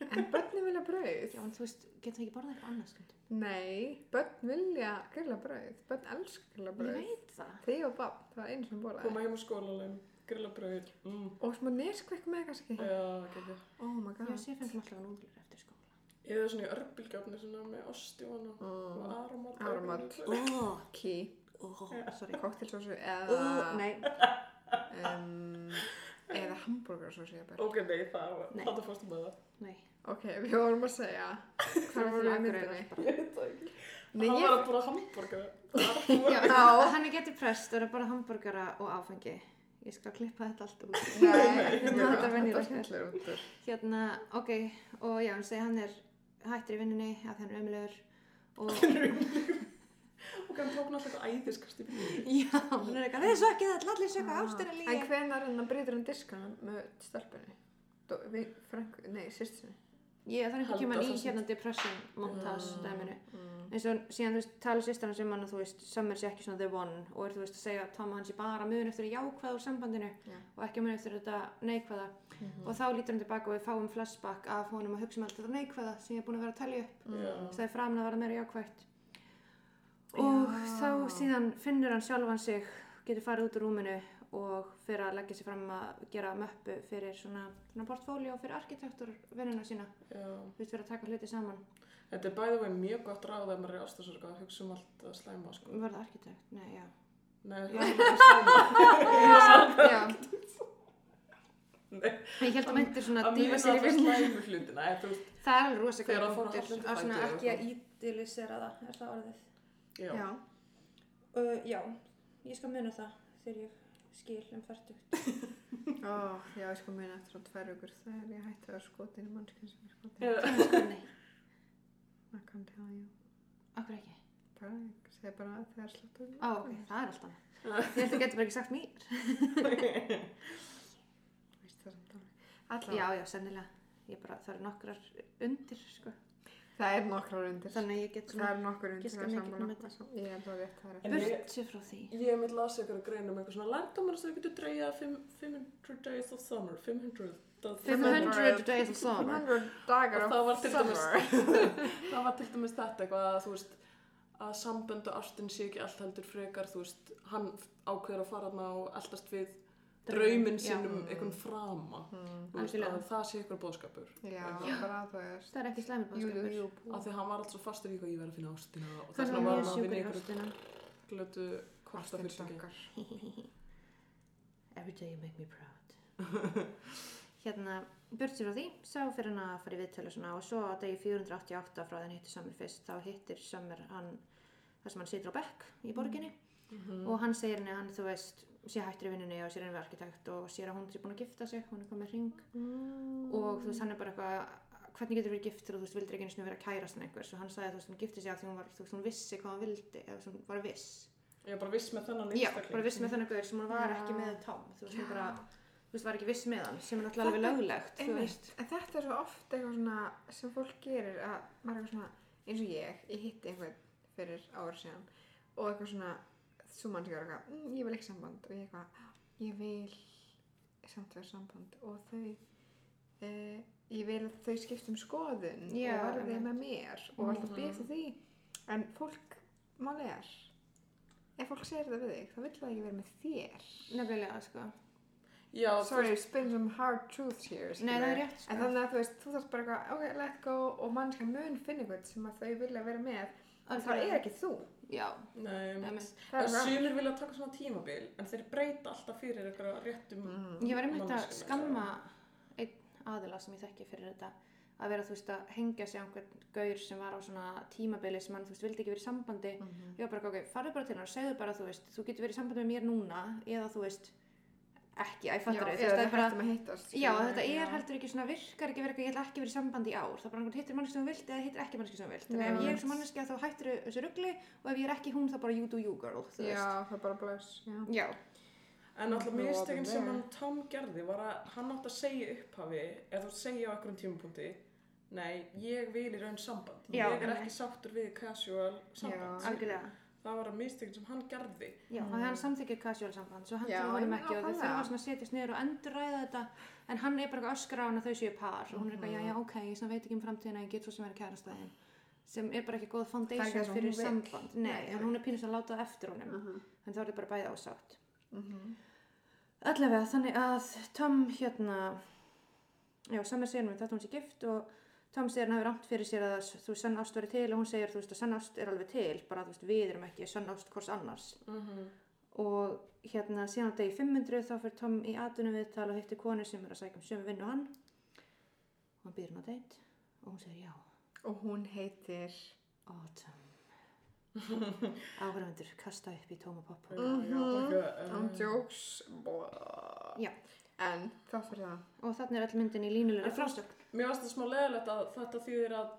En börn vilja brauð. Já, en þú veist, getur það ekki borðað eitthvað annað, sko? skund? Nei, börn vilja grilla brauð. Börn elskar grilla Ég brauð. veit það. Þið og barn, það var einu sem Koma borðaði. heim á skólalegum, grilla brauð. Mm. Og smá neskvekk með kannski. Já, ekki. Oh my Ég god. sé fyrir mig alltaf núdlur eftir skóla. Ég hefði svona í örbílgjöfni svona með osti og hana og Mm. aromat. Aromat. Oh, Kí. oh, sorry. Koktelsósu Oh, eða... nei, Um, eða hambúrgarsósu, ég ber. Ok, nei, það var, Nei. þetta fórstu með það. nei. Ok, við vorum að segja hvað vorum við myndinni. Ég veit það ekki. Nei, Hann ég, var að búið að hamburgera. Það var- Já, hann er getið prest, það eru bara hambúrgara og áfengi. Ég skal klippa þetta allt út. nei, Þetta er þetta venjulegt. skellur út úr. Hérna, ok, og já, hann segir hann er hættur í vinnunni að hann er ömulegur. Og Og hann tók náttúrulega eitthvað æðiskast í bílunni. já, hann er eitthvað, þið sökkið þetta, allir sökkið ástina Ah, En líka. um hvenar hann breytir hann diskana með stelpunni? Dó- Við, Frank, nei, sýstinni. ég þarf einhvern Halda tímann í það sem- hérna depression montage Mm, dæminu mm. eins og síðan þú veist tala sýstana sem hann að þú veist Summer sé ekki svona the one og er þú veist að segja að Tom hans er bara mun eftir jákvæð úr sambandinu Já. Mhm. og ekki mun eftir þetta neikvæða og þá lítur hann tilbaka og við fáum flashback af honum að hugsa um allt þetta neikvæða sem ég er búin að vera að telja upp Já. það er framan að vera meira jákvætt og Mhm. Já. þá síðan finnur hann sjálfan sig getur farið út úr rúminu og fyrir að leggja sig fram að gera möppu fyrir svona, svona portfóljó fyrir arkitektur vinnina sína, Já. þú veist fyrir að taka hluti saman Þetta er bæðið veginn mjög gott ráð ef maður er ástæðsorg að hugsa um allt að slæma sko. var það arkitekt? Nei, já, Nei, Já. það er slæma. já. Nei, ég held að meinti svona að dýfa muna sér í alla vinnu slæmu hlutina. Eða, þú veist, það er alveg rosa Þegar góður að fór að punktur, halla undir að svona fæti og ekki að eitthvað. ídilisera það, er það orðið já. Já. uh, já, ég skal muna það þegar ég skil um færtugt Ó, já, ég sko muni eftir á tvær ykkur þegar ég hætti að vera skotin í mannskinn sem er skotin. Eða- nei, I can't tell you. okkur ekki Bara, ég segi bara að þegar sláttur. Á, ok, það er alltaf Ég held að geta bara ekki sagt mér Veist það samt alveg. Já, Allá, já, sennilega Ég bara, það eru nokkrar undir, sko það er nokkrar undir. Þannig að ég get það svona er nokkur undir giska að mikið sammála. um þetta. Ég held að rétt það er En rétt. ég- burt sér frá því Ég hef mitt lasið ykkur að greina um eitthvað svona lærdómar sem þau getur dreigja 500 days of summer, 500 days of summer. 500 days of summer 500 dagar Og það var of til dæmis- summer. Það var til dæmis þetta eitthvað að þú veist að sambönd og ástin sé ekki allt heldur frekar, þú veist, hann ákveður að fara þarna og eldast við drauminn Já. sínum einhvern frama. Mm, Þú veist, Algjörlega. að það sé ykkur bóðskapur. Já, Já. bara að þú veist. Það er ekki slæmur Jú, jú, bóðskapur jú. Af því að hann var alltaf fastur í hvað ég verið að finna ástina og Það þess er vegna var hann mjög að sjúkur vinna í ykkur hostina glötu kvarta Ástin fyrirtæki. okkar. Every day you make me proud Hérna, burt sér frá því Sá fyrir hann að fara í viðtölu svona og svo á degi 488 frá þeim hittir Summer fyrst þá hittir Summer hann þar sem hann situr á bekk í borginni Mhm. Mm. og hann segir henni að hann, þú veist, sé hættur í vinnunni og sér henni við arkitekt og sér að hún sé búin að gifta sig, hún er komið hring Mm. og þú veist, hann er bara eitthvað hvernig getur verið giftur og þú veist, vildir ekki einu sinni vera kærast en einhvers og hann sagði að þú veist, hann gifti sig af því hún var, þú veist, hún vissi hvað hann vildi eða þú veist, hún var viss Ég er bara viss með þennan Já, bara viss með þannig gauður sem hún var Já. ekki með tóm þú veist, Já. hún bara, þú veist, var ekki viss með hann sem er náttúrulega alveg löglegt, þú Einmitt. veist En þetta er svo oft eitthvað svona sem fólk gerir að maður er eitthvað svona eins og ég, ég hitti einhvern fyrir ára síðan og eitthvað svona svo mann sem er eitthvað, mm, ég vil ekki samband og ég eitthvað, ég vil samt vera samband og þau uh, ég vil að þau skipta um skoðun Já, og verði einmitt. með mér og alltaf Mhm. býð eftir því en fólk, máli er ef fólk segir þetta við þig, þá vill það ekki vera með þér Nefnilega, sko Já, þú Sorry, spin some hard truths here Nei, það skilurðu. er rétt, En sko þannig að þú veist, þú þarfst bara eitthvað, ok, let go og mannska mun finna ykkur sem að þau vilja vera með en það er ekki þú Já, Nei, nefnilega Það en er rangt. sumir vilja taka svona tímabil en þeir breyta alltaf fyrir eitthvað réttum Mm. Ég var einmitt að Manneskjuna, skamma einn aðila sem ég þekki fyrir þetta að vera þú veist að hengja sig á einhvern gaur sem var á svona tímabili sem hann þú veist vildi ekki verið í sambandi Mhm. ég var bara ok, farðu bara til hann og segðu bara þú veist þú getur verið í sambandi með mér núna eða þú veist ekki, æ, Já, fattar eða það það er bara hættum að hittast Já, skilurðu, þetta Sko, já. er heldur ekki svona virkar ekki verið eitthvað, ég ætla ekki verið í sambandi í ár það er bara einhvern hittir manneski sem þú vilt eða hittir ekki manneski sem þú vilt þannig Já. ef ég er sem manneski þá hættir þessu rugli og ef ég er ekki hún þá bara you do you girl þú Já, veist. það er bara bless já. Já. En alltaf Nú, mistökin sem opinber. hann Tom gerði var að hann átti að segja í upphafi eða þú segja á einhverjum tímapunkti Nei, ég vil í raun samband Já, Ég er einmitt. ekki sáttur við casual samband Já. algjörlega Það var að mistökin sem hann gerði Já, mm. hann samþykkir casual samband svo hann Já, til honum já, ekki og þau nákvæmlega. þurfa svona að setjast niður og endurræða þetta en hann er bara eitthvað að öskra á hann að þau séu par og hún er eitthvað, já, já, Mhm. ok, ég svona veit ekki um framtíðina en ég get svo sem er kærastæðin sem er bara ekki góð Það er ekki foundation það sem fyrir hún vill. samband Nei, Nei, en hún er pínus að láta það eftir honum Mhm. en þá er þau bara bæði ásátt Mhm. Allavega, þannig að Tom hérna já, Samir segir mér þetta hún sé gift og Tom segir hann hafi rámt fyrir sér að þú veist, sann ást verið til og hún segir, þú veist, að sann ást er alveg til bara, þú veist, við erum ekki sann ást hvors annars og hérna síðan á degi 500 þá fyrir Tom í atunum viðtal og hittir konu sem er að sækja um sömu vinnu og hann og hann býður hann að deitt og hún segir já, Og hún heitir Autumn áhverfandur, kasta upp í tóma poppa Mhm. Tom Já, Jokes blah. Mm. Já. En það fyrir það og þannig er all myndin í línulegri En fannst- frásögn Mér varst það smá leðilegt að þetta þýðir að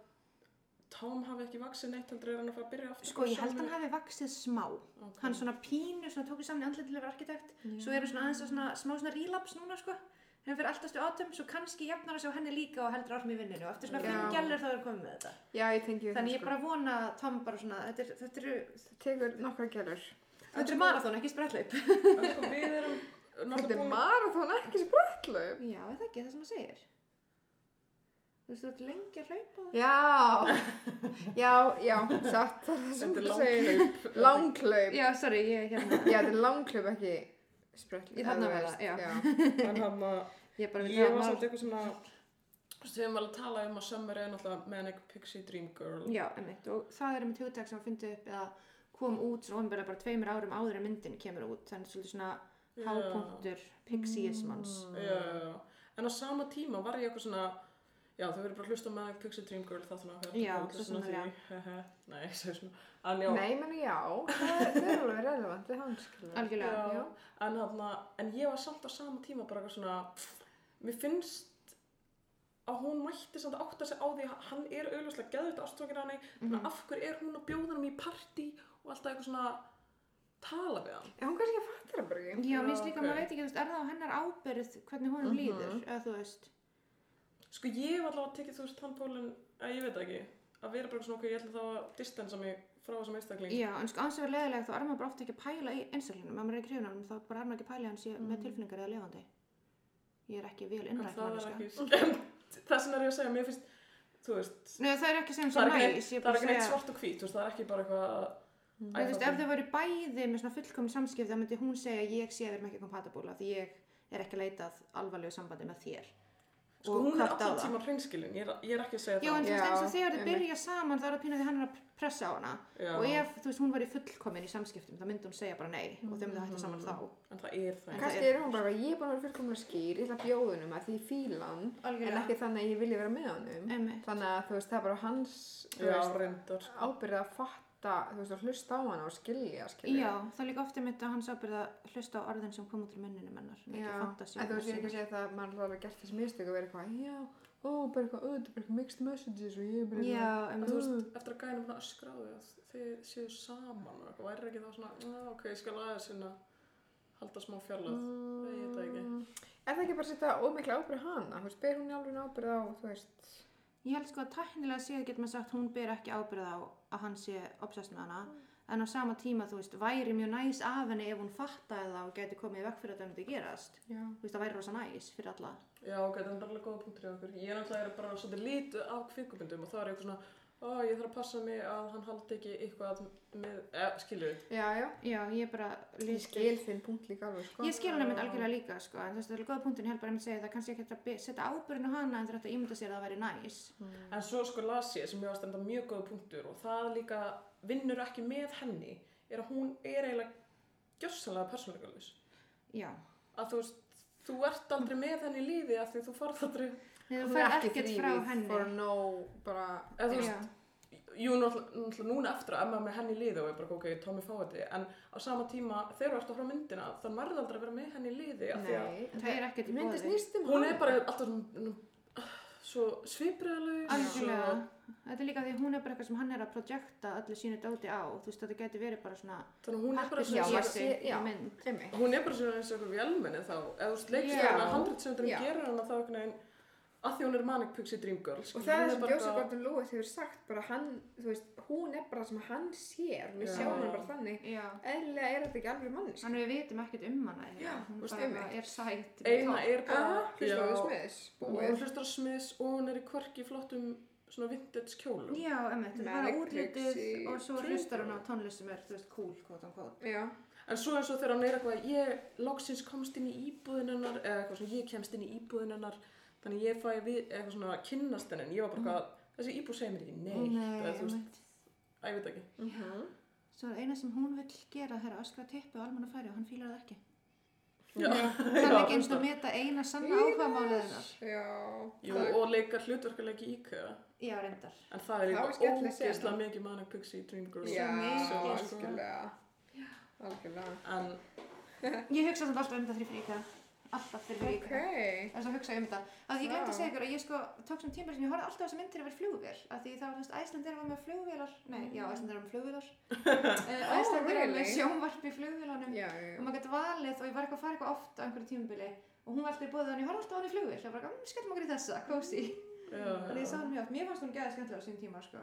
Tom hafi ekki vaksið neitt heldur er hann að fara að byrja aftur sko ég held hann hafi vaksið smá hafi hann svona pínu, svona tók í saman andlitilega arkitekt svo er hann svona aðeins að svona smá svona relapse núna sko henni fyrir alltast við átum svo kannski jafnar að sjá henni líka og heldur áfram í vinninu og eftir svona Já. fimm gælir þá er komið með þetta Já, ég tengi við þannig ég það, bara vona að Tom bara svona þetta er- þetta eru sko. Tekur nokkra gælur. þetta eru marathón ekki spretlaup En sko við erum Þetta er náttúrulega búin marathón, ekki sprettlaup. já er það ekki það sem það segir þú veist þú ert lengi að hlaupa Já, já, já, satt. Það er það sem Þetta er þú segir. Langlaup. já sorry ég hérna Já, þetta er langlaup, ekki sprettlaup. Ég þarna var það, já. já. En hann að ég bara um vil ég var að- samt eitthvað svona Við höfum alveg talað um að Summer er náttúrulega Manic Pixie Dream Girl Já, einmitt, og það er einmitt hugtak sem að fyndi upp eða kom út svona ofinbjörlega bara tveimur árum áður en myndin kemur út, þannig svolítið svona Já. hápunktur pixíismans. Já, já, já. En á sama tíma var ég eitthvað svona Já, þau verður bara að hlusta á Manic Pixie Dream Girl þá þannig að Já, það svo sannarlega. því Nei, ég segi svona En já, Nei, menn já, það er það er alveg relevant, það er hans, Mm. skilur. Algjörlega, já. En, hana, en ég var samt á sama tíma bara eitthvað svona Mér finnst að hún mætti samt að átta sig á því að hann er auðvitað geðvitt ástofakir á henni mm Mhm. af hverju er hún að bjóða hann í partí og alltaf eitthvað svona tala við hann Já, hún kannski fattir það bara ekki. Já, Já, mér finnst líka, ok. maður veit ekki, þú veist, er það á hennar ábyrð hvernig honum Mhm. líður, eða þú veist. Sko ég var allavega að tekið þú veist þann pólinn að ég veit það ekki að vera bara eitthvað svona okkur ég ætla þá að distansa mig frá þessum einstakling Já, en sko, ansið verið leðilega þá er maður bara ofta ekki að pæla í einstaklinum, ef maður er ekki hrifin á hann, þá bara er maður ekki að pæla í hann sé með tilfinningar eða levandi. Ég er ekki vel Mhm. en innrætt það er manneskja. ekki skemmt það sem er ég að segja, mér finnst þú veist, Nei, það er ekki sem það svo er ekki, næs, ég það bara er ekki neitt segja- svart og hvít þú veist, það er ekki bara eitthvað að- Sko, Nei, þú veist, það- ef þau væri bæði með svona fullkomin samskipti þá myndi hún segja ég sé að við erum ekki kompatibúla því ég er ekki að leitað alvarlegu sambandi með þér Sko hún er kvarta á alltaf það. tíma hreinskilin, ég er, ég er ekki að segja Já, en það. þú veist, Já, eins og þegar þau einmitt. byrja saman þá er það pínu því hann er að pressa á hana Já, og ef, þú veist, hún væri fullkomin í samskiptum þá myndi hún segja bara nei og þau myndi Mm. hætta saman þá en það er það. ekki. En Kannski er hún bara, ég er búin að vera fullkomlega skýr, ég ætla að bjóða hennum að því ég fíla hann, en Algjörlega. ekki þannig að ég vilja vera með hannum. Einmitt. Þannig að þú veist, Mm. það er bara hans þú Já, veist, reyndar. sko. ábyrgð að fatta, þú veist, að hlusta á hann og skilja, Já, skilja. það er líka ofta mitt að hans ábyrða hlusta á orðin sem kom út úr munninum hennar en ekki fantasíum en þú veist, ég er ekki hennar að segja það að maður er alveg gert þessi mistök að vera eitthvað, já, ó, bara eitthvað, ó, þetta er bara eitthvað mixed messages og ég er sinnar. bara Já, En en þú veist, eftir að gæna hún að öskra á því að þið séu saman og eitthvað, væri ekki þá svona, "Já, ok, ég skal aðeins hérna halda smá fjarlöð. Mm, Ég veit það Er það ekki bara að setja ómikla ábyrgð á hana? Þú veist, ber hún í alveg ábyrgð á, þú veist, Ég held sko að tæknilega séð getur maður sagt hún ber ekki ábyrð á að hann sé obsessed með hana Mm. en á sama tíma þú veist væri mjög næs af henni ef hún fattaði það og geti komið í vekk fyrir að það myndi gerast já. þú veist það væri rosa næs fyrir alla Já, ok, þetta er alveg góða punktur í okkur. Ég er náttúrulega bara svolítið lítu af kvikubindum og þá er ég eitthvað svona, ó, ég þarf að passa mig að hann haldi ekki eitthvað með, eh, skilur við. Já, já. Já, ég bara Ég skil þinn punkt líka alveg, sko. Ég skil hann einmitt algjörlega líka sko en þú veist það er alveg góða punktin ég held bara einmitt segja það kannski ekki hægt að be- setja ábyrðinu hana en þú ætti að ímynda sér að það væri næs Mm. En svo sko las ég sem ég var stendað mjög góða punktur og það líka vinnur ekki með henni er að hún er eiginlega gjörsanlega persónuleikalis. Já Að þú veist, þú ert aldrei með henni í lífi af því þú farð aldrei, Nei, þú Hún fær er ekki ekkert frá þrýfið henni for no bara eða þú Já. veist, jú náttúrulega náttúrulega núna eftir að emma með henni í liði og er bara ok, Tommy fá þetta, en á sama tíma þegar þú ert að horfa á myndina þá nærði aldrei að vera með henni í liði af því að nei, Það er ekkert í myndi boði. snýst um hún er bara alltaf svona, svo svipriðalög. Algjörlega, þetta er líka því að hún er bara eitthvað sem hann er að projekta öllu sínu dóti á, þú veist þetta getur verið bara svona Þannig að hún er bara Já, svona, maður Pappírsnesi sé- í já. mynd. Einmitt. hún er bara svona eins og einhver vélmenni þá eða þú veist Já. leikstæðan að handrætsöndarinn Já. gerir hana þá einhvern veginn að því hún er manic pixie dream girl og það er hún sem bara Joseph eitthvað- Gordon Lewis hefur sagt bara hann, þú veist, hún er bara það sem hann sér við Já. sjáum hann bara þannig Já, eðlilega er þetta ekki alveg mannisk þannig við vitum ekkert um hana Já, eiginlega. hún þú veist, bara einmitt. er sætt eina er bara hlustar á smiðis hún búið hlustar á smiðs og hún er í kvarki í flottum svona vintage kjólum Já, emmi, þetta er bara Manic útlitið Pixie og svo Dream hlustar hún á Girl. tónlist sem er, þú veist, cool, quote on quote já, en svo eins og þegar hann er eitthvað ég loksins komst inn í íbúðin hennar eða eitthvað svona ég kemst inn í íbúðin hennar þannig ég fæ við eitthvað svona að kynnast henni en ég var bara eitthvað Mm. þessi íbúð segir mér ekki neitt eða þú veist emmi að ég veit ekki mhm. Svo er eina sem hún vill gera þegar öskra tippu á almanna færi og hann fílar það ekki Já. Það er Já, ekki eins og reyndar. að meta eina sanna áhuga máliðinar já Jú, og leikar hlutverkuleik í IKEA Já, reyndar en það er Það var líka skemmtileg sena. ógeðslega mikið manic pixie dream girl já, svo mikið, sko. algjörlega algjörlega en Ég hugsa þetta alltaf um þetta þrýfríka Alltaf þrýfríka ok, Það er svo að hugsa um það. Að ég glemt að Já. segja ykkur að ég sko tók sem tímar sem ég horfði alltaf á þessa myndir yfir flugvél. Að því þá, þú veist, Æslandir var með flugvélar. Nei, já, Æslandir var með flugvélar. uh, Oh, Æslandir var með really? sjónvarp í flugvélanum. já, Og já maður gæti valið og ég var eitthvað að fara eitthvað oft á einhverju tímabili. og hún var alltaf í bóðið hann, ég horfði alltaf á hann í flugvill og bara, gamm, skellum okkur í þessa, kósi þannig ég sá hann mjög oft, mér fannst hún gæði skemmtilega á sín tíma sko.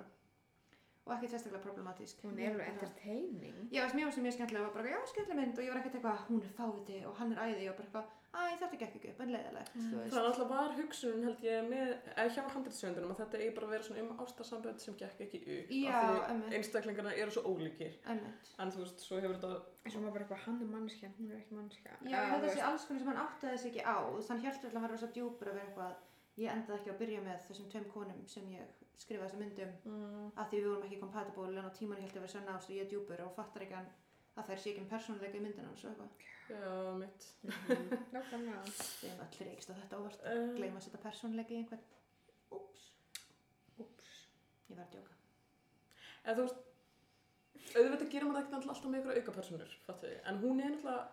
og ekkert sérstaklega problematísk Hún er alveg entertaining. Já, þess, mér fannst hún mjög skemmtilega, ég var bara, já, skemmtilega mynd og ég var ekkert eitthvað, hún er fáviti og hann er æði og bara eitthvað, æ, þetta gekk ekki upp, en Mm. leiðilegt þú veist. Það er alltaf var hugsun held ég með, eða hjá handriðsöndunum að þetta eigi bara að vera svona um ástarsambönd sem gekk ekki upp Já, af einmitt. því einstaklingarna eru svo ólíkir Einmitt. en þú veist, svo hefur þetta Svo maður bara eitthvað, hann er manneskja, hún er ekki manneskja. Já, ég Eða, held þú að það sé veist, alls konar sem hann áttaði sig ekki á þú veist, hann hjæltur alltaf að vera svo djúpur að vera eitthvað ég endaði ekki á að byrja með þessum tveim konum sem ég skrifaði þessum myndum mm. að því við vorum ekki compatible en á tímanum hjæltu að vera sönn ást og ég er djúpur og fattar ekki hann að þær sé ekki um persónuleika í myndinu hans og eitthvað Já, mitt mhm, Nákvæmlega. við erum öll reykst á þetta óvart Um, gleyma að setja persónuleika í einhvern Úps, Úps. ég var að djóka Eða þú veist, auðvitað gerir maður ekkert alltaf með ykkur aukapersonur, fattu þið en hún er náttúrulega,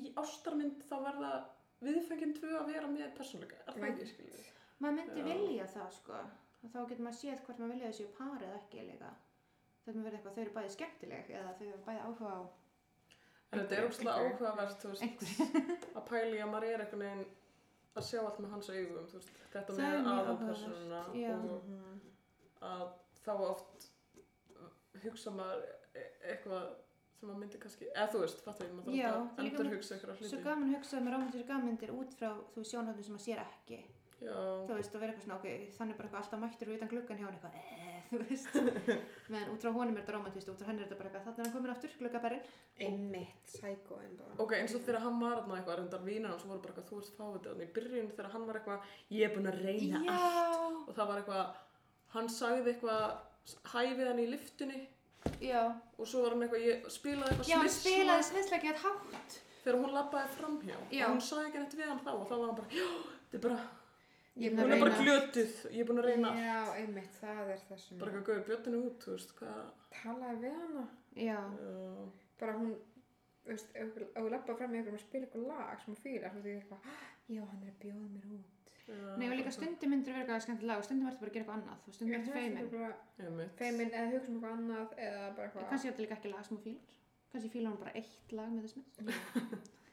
í ástarmynd þá verða viðfengin tvö að vera með persónleika, er það ekki, skiljum við maður myndi Já. vilja það sko og þá getur maður séð hvort maður vilja þessi par eða ekki líka þetta maður verið eitthvað þau eru bæði skemmtileg eða þau eru bæði áhuga á En þetta er ógstlega Einhverju. áhugavert, þú veist, einhverju að pæli að maður er einhvern veginn að sjá allt með hans augum, þú veist, þetta Það er með mjög aðalpersonuna áhugavert, já. og Mhm. að þá oft hugsa maður e- eitthvað sem maður myndi kannski, eða þú veist, fattu ég, maður Já, þarf það að er líka endur hugsa ykkur á Svo hluti. gaman að hugsa um romantískar gammyndir út frá þú sjónhóttum sem maður sér ekki. Já, Þú veist, og vera eitthvað svona, ok, þannig bara eitthvað alltaf mættur og utan gluggan hjá hann eitthvað, eh, þú veist. Meðan út frá honum er þetta romantískt og út frá henni er þetta bara eitthvað, þannig er hann komin aftur, gluggaberinn. Einmitt, sækóin bara. ok, eins og þegar hann var þarna eitthvað, reyndar vínar hans voru bara eitthvað, þú ert fávitið þarna í byrjun þegar hann var eitthvað, ég er búinn að reyna allt Já, og það var eitthvað, hann sagði eitthvað, hæfið hann í lyftunni já. og svo var hann eitthvað, ég spilaði eitthvað Já, hann smiss- spilaði sviðslega gett hátt. þegar hún labbaði framhjá og Já. hún sagði ekki neitt við hann þá og þá var hann bara, já, þetta er bara, Ég er Hún búin hún er að bara reyna. glötuð, ég er búin að reyna allt." Já, einmitt, það er það sem bara eitthvað gauði bjötinu út, þú veist, hvað talaði við hana. Já, Já, Bara hún, þú veist, ef ef hún lappa fram í ykkur og spila ykkur lag sem hún fýlar, þú veist, ég eitthvað, "Ah, já, hann er að bjóða mér út. já, nei og líka stundum myndir verið eitthvað skemmtilega og stundum ertu bara að gera eitthvað annað og stundum Ég ertu held þetta feimin. bara Einmitt. Feimin eða hugsa um eitthvað annað eða bara En eitthvað. Kannski er þetta líka ekki lag sem þú fílar. Kannski fílar hún bara eitt lag með þessum.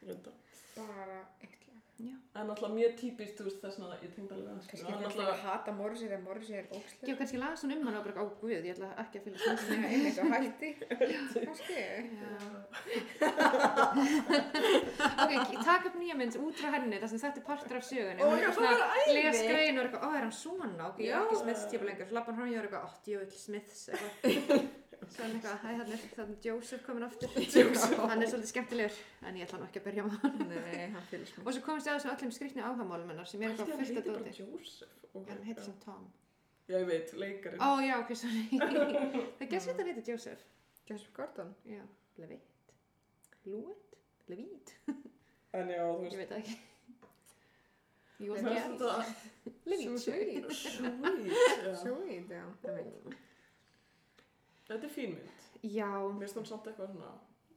Reyndar. Bara eitt lag. Já. en alltaf mjög típist, þú veist, þess að ég tengd alveg að Kannski skilja hann er alltaf að alltaf hata morsi þegar morsi er Já, ókslega. kannski las hún um hann og bara, ó guð, ég ætla ekki að fylgja svona Nei, einmitt og hætti. Kannski. ok, takk upp nýja mynd út frá henni þar sem þetta er partur af Ó, sögunni Hún er já, eitthvað svona það var æði. les grein og er eitthvað, ó er hann svona ok, ég Já. er ekki Smiths típa lengur, svo lappa hann fram hjá og er eitthvað, ó, djöfull Smiths eitthvað svo er hann eitthvað, hæ, þannig er þannig Joseph komin aftur hann er svolítið skemmtilegur, en ég ætla hann ekki að byrja með hann Nei, hann fylgst mér. og svo komist ég að þessum öllum skrýtni áhagamálum hennar sem er Ætli eitthvað hann fullt heiti að bara dóti Jósef Já, hann heitir sem Tom Já, ég veit, leikarinn ó já, ok, sorry það gerst þetta hann heitir Joseph Joseph Gordon. já, Levitt Lewitt, Levitt, En já, þú ég veist veit það ekki Ég Ég var það er veit. svona, þetta Levitt, Sweet. Sweet, já. Sweet, já. Einmitt. Þetta er fín mynd já, Mér finnst hann samt eitthvað svona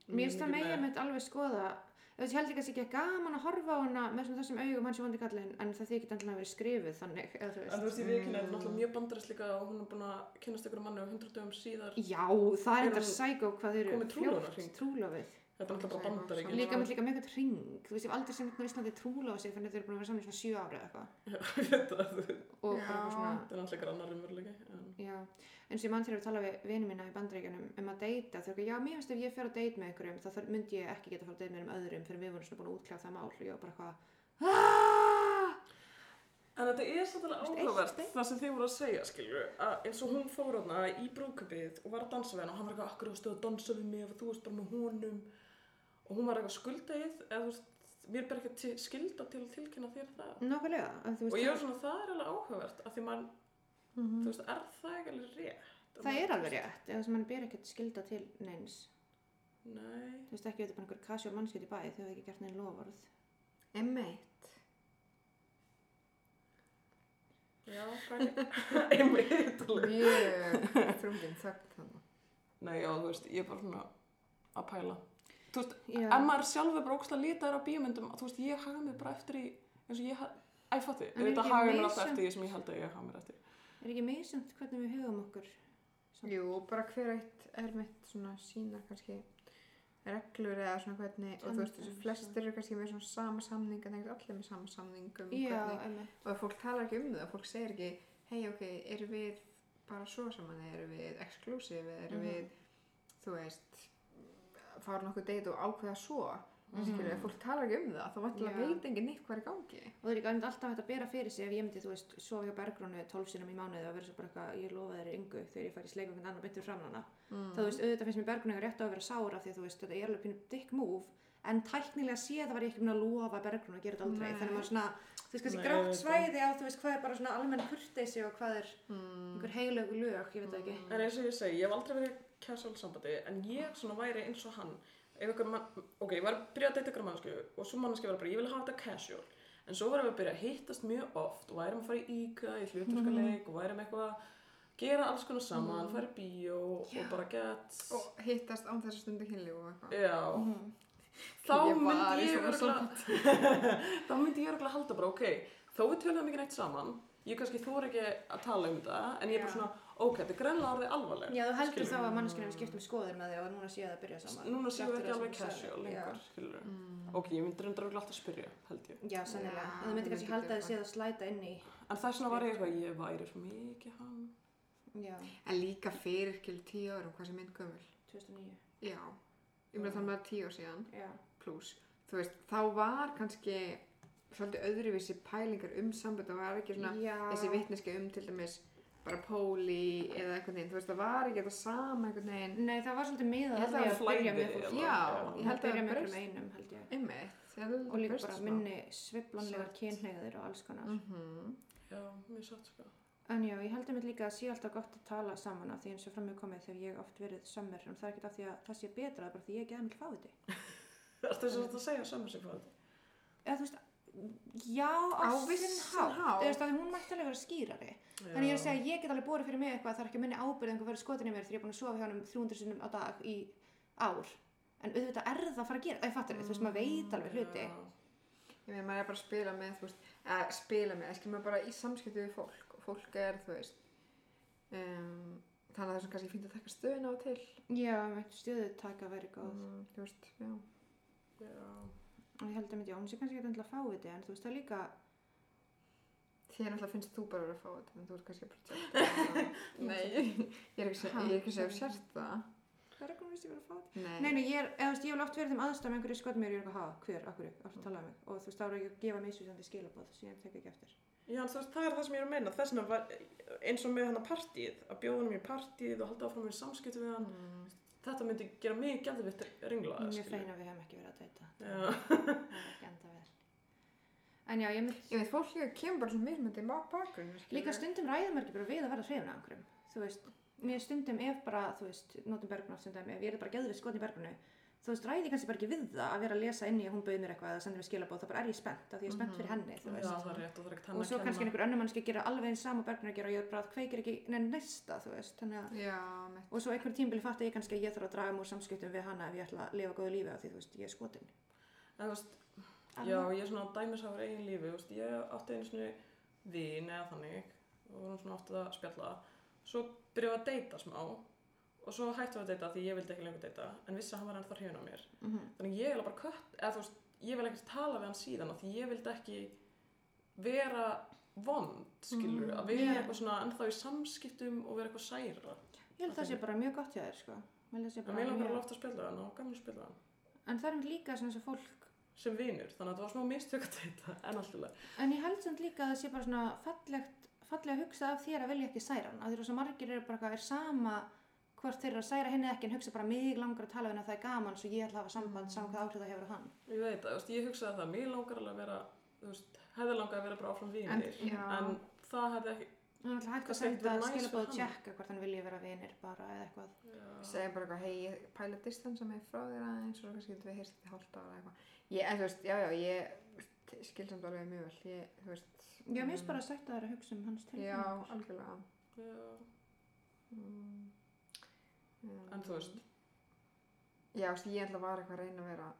Mér finnst það mikið megin mitt alveg skoða Þú veist, ég held ekki að sé ekki gaman að horfa á hana með svona þessum augum hans í vondi kallinn en það þykir endilega verið skrifuð þannig eða þú En þú veist mm. veist, ég veikinn er náttúrulega mjög bandarist líka og hún er búin að kynnast einhverjum manni á 100 dögum síðar Já, það Eru er eitthvað hún- sækó hvað þau eru komið trúlofahring? trúlofið Þetta er náttúrulega bara bandaríkin Líka með líka með eitthvað ring Þú veist, ég hef aldrei sem eitthvað Íslandi trúlofa sig þannig að þau eru búin að vera saman í svona sjö ára eða eitthvað Þetta þú veist, og Já. bara eitthvað svona þetta er náttúrulega einhver annar umveruleiki en... Já, eins og ég mann þegar við tala við vinið mína í bandaríkjanum um að deyta, þau eru ekki, já, mér finnst ef ég fer að deyta með einhverjum, þá þar- myndi ég ekki geta að fara að deyta með einhverjum öðrum fyrir við vorum svona búin að útkljá það mál og ég var bara eitthvað "Ah!" En þetta er svolítið Þú veist, eitt áhugavert stein. það sem þið voru að segja, skilju, að eins og hún fór hana í brúkabíð og var að dansa við hann og hann var eitthvað, akkur ástu að dansa við mig ef þú varst bara með honum og hún var eitthvað skuldaðið, eða þú veist, mér ber ekki til, skilda til að tilkynna þér það. Nákvæmlega, að þú Og veist, Mhm. ég var svona, það er alveg áhugavert, af því mann, þú veist, er það ekki alveg rétt? það er alveg rétt, eða sem mann ber ekkert skilda til neins. Nei, Þú veist ekki, þetta er bara einhver kasjó mannskjöld í bæ, þau hefðu ekki gert neinn lofvarð. Einmitt. já, fræni, einmitt alveg. Mjög þrungin þögn þannig. Nei, já, þú veist, ég er bara svona að pæla. Þú veist, Já, en maður sjálfur bara ógslag lítar á bíomyndum þú veist, ég haga mig bara eftir í eins og ég haga, æ, fatti, En er þetta ekki haga ég misjafnt? mér alltaf eftir því sem ég held að ég haga mér eftir er ekki meðsend hvernig við hugum okkur? Jú, bara hver eitt er mitt svona sína kannski reglur eða svona hvernig og þú veist þessu flestir eru kannski með svona sama samning en það er allir með sama samning um hvernig Mm, einmitt. og ef fólk talar ekki um það, fólk segir ekki hei ok, eru við bara svo saman eða eru við exclusive eða eru Mhm. við þú veist fara nokkuð date og ákveða svo en skilur, ef fólk talar ekki um það þá vantilega Mhm. Já. veit enginn neitt hvað er í gangi og það er ekki einmitt alltaf hægt að bera fyrir sig ef ég myndi, þú veist, sofa hjá bergrónu 12 sinum í mánuði og vera svo bara eitthvað, ég lofa þeir yngu þegar ég fær í sleik og einhvern annar beintur fram hana mm. þá þú veist, auðvitað finnst mér bergrónu eiga rétt á að vera sára því að þú veist, þetta er alveg pínu dick move en tæknilega séð var ég ekki mun að lofa bergrónu að gera þetta aldrei, Nei. þannig að maður svona þú veist, kannski Nei, grátt auðvitað. svæði á, þú veist, hvað er bara svona almenn kurteisi og hvað er mm. einhver heilög lög, ég veit það ekki Mm. En eins og ég segi, ég hef aldrei verið í casual sambandi en ég svona væri eins og hann ef ykkur mann, ok, ég var að byrja að deyta ykkur mannsku og svo mannsku var bara, ég vil hafa þetta casual en svo varum við að byrja að hittast mjög oft og værum að fara í íka, í hluturskaleik og værum eitthvað að gera alls konar saman, fara í bíó Já. Mhm. og bara get og hittast án þess að stundu kynlíf og Eh, eitthvað Já, Mhm. þá Ég var myndi í ég svona örgulega þá myndi ég örgulega halda bara, ok þó við tölum ekki neitt saman ég kannski þóra ekki að tala um þetta en ég er bara Já. svona, ok, þetta er greinlega orðið alvarleg Já, þú heldur Skilur. þá að manneskinu hefur skipt um skoður með því og núna séu það að byrja saman. núna séum við Þrátt ekki alveg fyrir það sem þú casual sagðir. lengur, skilur mm. ok, ég myndi reyndar örugglega alltaf að spyrja, held ég Já, já sennilega. Já, En þú myndir þú kannski myndir halda gera þið séð að slæta inn í. en þess vegna var ég eitthvað, ég væri svo mikið hann Já, en líka fyrir kjölu tíu árum hvað sem mynd gömul 2009. já, ég meina þannig að það er tíu ár síðan Já. pluss, þú veist, þá var kannski svolítið öðruvísi pælingar um sambönd og var ekki svona Já. þessi vitneski um til dæmis bara póli eða einhvern veginn, þú veist, það var ekki þetta sama einhvern veginn, Nei, það var svolítið miðað Ég held að að það byrja flæði með fólk. eða- já, Já. ég held að byrja það með bröst einhverjum einum, held ég. einmitt, ég held að Og það líka bröst bara smá. minni sviplanlegar Satt. kynhneigðir og alls konar. Mhm. já, mér satt sko En já, ég heldur mér líka að sé alltaf gott að tala saman af því eins og framöðu komið þegar ég hef oft verið sömmur en það er ekki af því að það sé betra, það er bara því ég ekki aðeins fá þetta. þetta er svo að segja saman sig hvað Eða þú veist, já, á, á sinn hátt. vissan hátt Þú veist að hún mætti alveg vera skýrari. Þannig ég er að segja að ég get alveg borið fyrir mig eitthvað það er ekki minni ábyrð einhver verið skotin í mér þegar ég er búin að sofa hjá hann 300 sinnum á dag í ár en auðvitað er það að fara að gera, það fattur þú veist maður veit alveg hluti Mm. ég meina, maður er bara að spila með, þú veist, að spila með, skilur maður bara í samskiptu við fólk og fólk er, þú veist, um, þannig að það er svona kannski fínt að taka stöðina á til, já, meitt stöðutaka væri góð mm. mm, þú veist, já. og ég held að myndi, já, hún sé kannski ekki endilega að fá þetta en þú veist það er líka, Þér náttúrulega finnst þú bara að vera að fá þetta, en þú ert kannski að protecta. Nei, ég er ekki að segja- ég er ekki að segja að sért það. það er ekki hún veist ég verið að fá þetta Nei, nei, nei, ég er, eða þú veist, ég hef oft verið þeim aðstæðum einhverju skotin mér, og ég er eitthvað, ha, hver, akkur, aftur að tala um mig og þú veist, þá er ekki að gefa mig ísvísandi skilabóð sem ég tek ekki eftir Já, en þú veist, það er það sem ég er að meina. Þess vegna var eins og með hann að partíið, að bjóða hann í partíið og halda áfram í samskiptum við hann. Mm. Þetta myndi gera mig gæðvitt ringlaða, mjög feina við hefum ekki verið að deyta Já, það er ekki enda vel en já, ég myndi Ég veit, fólk líka kemur bara svona mismöndi í bakgrunni. Líka stundum ræðum er ekki bara við að verða hrifin af einhverjum. Þú veist, mér stundum ef bara, þú veist, notum berguna stundum, ef ég er bara geðvið skotin í bergunu, þú veist, ræði ég kannski bara ekki við það að vera að lesa inn í að hún bauð mér eitthvað eða sendir mér skilabóð, þá bara er ég spennt, af því ég er spennt fyrir henni, þú Mhm. Já, veist. það er rétt og það er ekkert hann og að svo kenna. kannski einhver önnur mannski gera alveg eins sama berguna að gera og ég bara kveikir ekki neina næsta, þú veist, þannig að Já, mitt. og svo einhver tímbili fatt ég kannski að ég þarf að draga múr samskiptum við hana ef ég ætla að lifa góðu lífi á því, þú veist, ég er skotin. En þú veist, já, ég er svona dæmisáður eigin lífi, þú veist, ég átti einu svona vin eða þannig og vorum svona oft að spjalla. Svo byrjuðum við að deyta smá og svo hættum við að deyta því ég vildi ekki lengur deyta en vissi að hann var ennþá hrifin á mér. Mhm. Þannig ég vil bara kött, eða þú veist, ég vil ekkert tala við hann síðan af því ég vildi ekki vera vond, skilur, Mm, að vera já. eitthvað svona ennþá í samskiptum og vera eitthvað særa. Ég held að það sé bara mjög gott hjá þér, sko. Ég held að það sé En mér bara langar mjög- alveg oft að spjalla við hann og gaman að spjalla við hann En það er einmitt líka svona eins og fólk sem vinur, þannig að þetta var smá mistök að þetta, en alltaf. En ég held samt líka að það sé bara svona fallegt, fallega að hugsa af þér að vilja ekki særa hann. Af því að svo margir eru bara eitthvað, er sama hvort þeir eru að særa henni eða ekki en hugsa bara mig langar að tala við henni að það er gaman svo ég ætla að hafa samband, sama hvað áhrif það hefur á hann. Ég veit það, þú veist, ég hugsaði það, mér langar alveg að vera, þú veist, hefði langar að vera bara áfram En, vinir, já, en, það hefði ekki, Það er alltaf Það sé hægt að ekkert senda verið næs fyrir skilabóð og hann. tjekka hvort hann vilja vera vinir bara eða eitthvað. já, segja bara eitthvað, hei, ég pæla að distansa mig frá þér aðeins og kannski getum við heyrst þetta hálft ára eða eitthvað. Ég, en þú veist, já, já, ég skil samt alveg mjög vel, ég, þú veist, Já, mér Mm. finnst bara að sætta þær að hugsa um hans tilfinningar. já, algjörlega. já, Mm. Mm. en þú veist, Já, þú veist, ég ætla var eitthvað að reyna að vera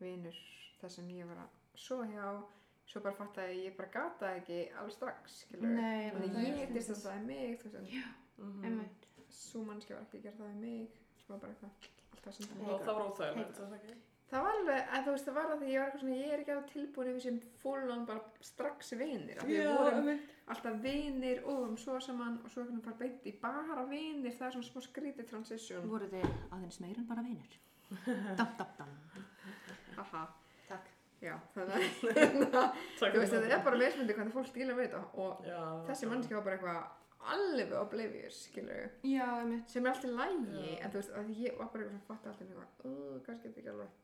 vinur þar sem ég var að svo hjá, svo bara fattaði ég, ég bara gata ekki alveg strax, skilur. Nei, Þannig það að er ég svona. hittist að það er mig, þú veist, Já, mhm, einmitt. en svo mannski var ekki að gera það við mig, svo var bara eitthvað, allt alltaf sem það Nei. heitir. Og það var óþægilegt, Heiða. það ekki? Það var alveg, en þú veist, það var að því ég var eitthvað svona, ég er ekki alveg tilbúin yfir sem fólun bara strax vinir. af því Við vorum einmitt. alltaf vinir og um svo saman og svo einhvern veginn bara beint í bara vinir, það er svona smá skrítið transition. Voru þið aðeins meir en bara vinir? Dam, dam, dam. Haha, Takk. já, þannig að, Takk þú veist, fyrir það er bara mismundi hvernig fólk díla við þetta og Já, þessi já. mannski var bara eitthvað alveg oblivious, skilur við. Já, einmitt. sem er alltaf lægi, Já. en þú veist, að ég var bara eitthvað sem fatta alltaf eitthvað, uh, kannski er þetta ekki alveg.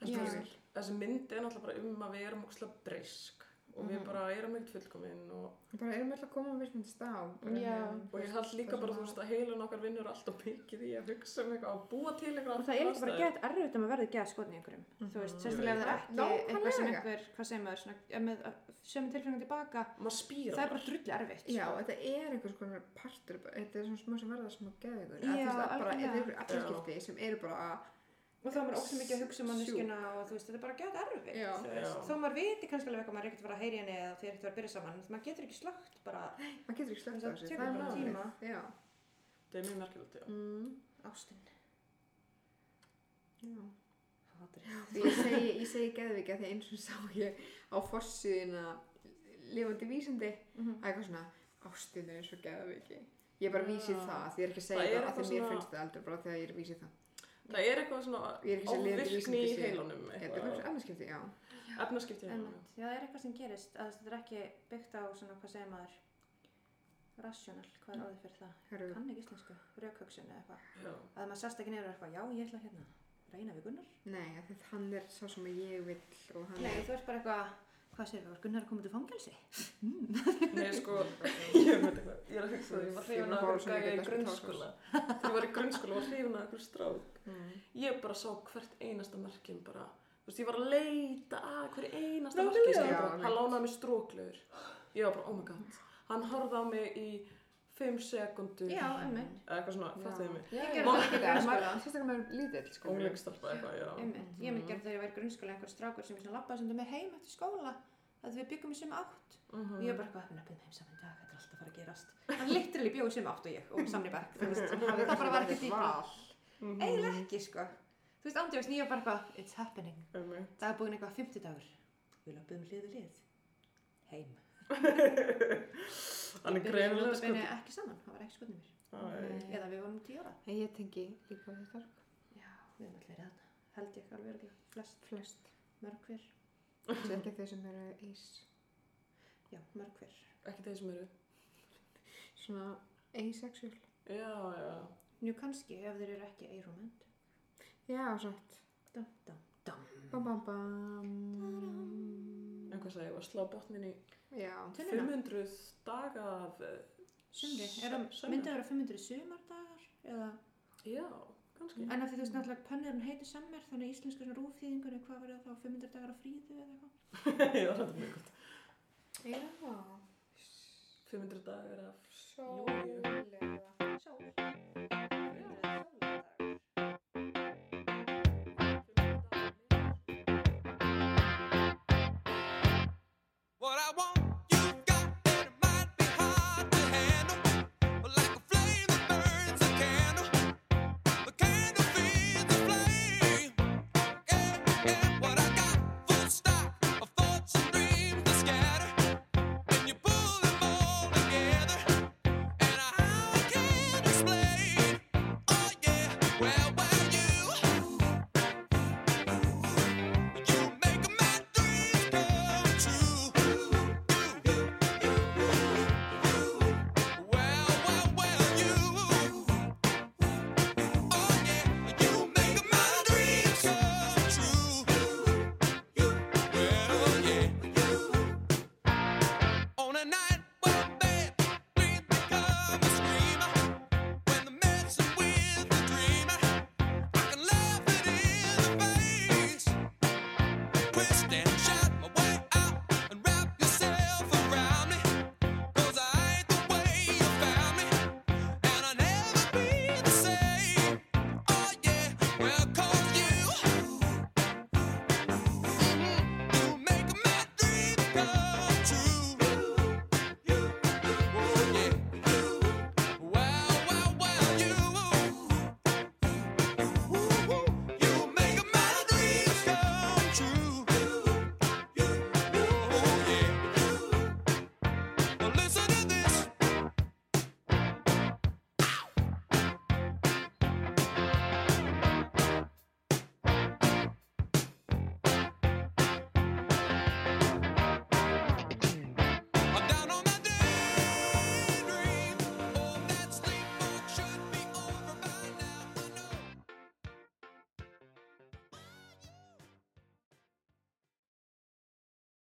En þú Já. veist, Þessi mynd er náttúrulega bara um að við erum ókslega breysk og við Mhm. bara erum ekkert fullkominn og, Við bara erum alltaf að koma á mismunandi stað. hérna, bara Já. með- og ég held líka það bara, sem þú veist, að heilun okkar vinnur alltaf mikið í að hugsa um eitthvað og búa til eitthvað Og það er allt ekki bara aðstæður. gett erfitt um að verða gett skotin í einhverjum. Þú veist, Mhm. sérstaklega ef það er ekki Nákvæmlega. eitthvað sem einhver, hvað segir maður, svona, ef með sömu tilfengjum tilbaka, Maður spýra það er bara drulli erfitt. Já, sko. þetta er einhvers konar partur, bara- þetta er svona smá sem verða smá geðingur. Já, Þetta er bara, þetta algjörlega. er einhver afskipti sem eru bara að, Og þá er maður ósum mikið að hugsa um manneskina og þú veist, þetta er bara gett erfitt. Já. þú Já. veist. Þó maður viti kannski alveg hvað maður er ekkert að fara að heyri henni eða þið er ekkert að vera að byrja saman, en maður getur ekki slögt bara maður getur ekki slögt á Það þessu, það er tekur bara málið. tíma. Já. Það er mjög merkilegt, já. Mm, ástin. já. Hatrið. Ég segi, ég segi geðvika því eins og sá ég á fossiðina lifandi vísindi Mhm. að eitthvað svona ástinu eins og geðviki ég bara vísi Já. það því ég er ekki að segja Það er það, af eitthvað því mér svona- finnst það aldrei bara þegar ég er að vísi það Það er eitthvað svona Ég er ekki sem leiðandi óvirkni í vísindi sé- heilunum, þetta er eitthvað bara annarskipti, já efnaskipti í heilunum. Já, það er eitthvað sem gerist, að þetta er ekki byggt á svona, hvað segir maður, rational, hvað er orðið fyrir það? Hörru, Kann ekki íslensku, rökhugsun eða eitthvað. Já. Að maður sast ekki neyra eitthvað, já, ég ætla hérna, að reyna við Gunnar. nei, af því að hann er sá sem ég vill og hann Nei, er þú ert bara eitthvað, hvað segir við, var Gunnar að koma til fangelsi? Nei, sko, ég veit eitthvað, ég er að hugsa það, ég var Stefán hrifin af einhverjum Pálsson er gæja í ekki desperate grunnskóla. Þegar ég var í grunnskóla var hrifin af einhverjum strák. Mm. Ég bara sá hvert einasta merkin bara, þú veist, ég var að leita að hverju einasta merki. Nákvæmlega. Já, Já, hann mitt. lánaði mér stróklöður. Ég var bara, oh my god. Hann horfði á mig í 5 sekundur. Já, einmitt. Eða eitthvað svona, fattuðu mig. Ég gerði það gerði ekki það líka í þegar grunnskóla. maður- sérstaklega maður er lítill sko. Ólegstarpa eitthvað, já. Einmitt, ég mér gerði þegar ég var í grunnskóla einhver strákur sem ég svona labbaði sem þú með heim eftir skóla að við byggum í sem átt Mhm. og ég var bara eitthvað, nefnum heim saman í dag, þetta er alltaf að fara að gerast hann litterli bjóði sem átt og ég og samni berg, þú veist, Mm. það bara var ekki dýpa eiginlega ekki, sko þú veist, andjóks, ég var bara eitthvað, it's happening Einmitt. það er búin eitthvað 50 dagur við löpum hlið við hlið heim, Hann er Við byrjuðum greinilega nota sko. bene ekki saman, það var ekki skotin mér Æ. Nei. eða við vorum 10 ára, En ég tengi líka við þetta já, við höfum allir hérna held ég alveg örugglega. flest, flest, mörg hver Svo ekki þau sem eru ís já, mörg hver, Ekki þeir sem eru. svona asexual Já, já. nú kannski ef þeir eru ekki eirumend Já, samt Dum, dum, dum. Bam, bam, bam. En hvað sagði ég, var að slá botnin í Já. Tunnuna. 500 daga af... eh, Sumri. s- Er það sumri. myndið að vera 500 sumardagar? Eða? Já, kannski. En af því þú veist náttúrulega pönnurinn heitir summer þannig að íslensku svona rúfþýðingunni hvað verður það þá 500 dagar á fríðu eða eitthvað? Já, þetta er mjög gott. Já. 500 dagar af... Sjólega. Sól. Já. What I want, you got, and it might be hard to handle. But like a flame that burns a candle, the candle feeds the flame. Yeah, yeah, what I got, full stop, a thoughts and dreams to scatter. And you pull them all together, and how I can explain. Oh yeah, where were you? You make my dreams come true. Well, well, well, you. Oh yeah, you make my dreams come true. Well, yeah. On a night Oh, oh,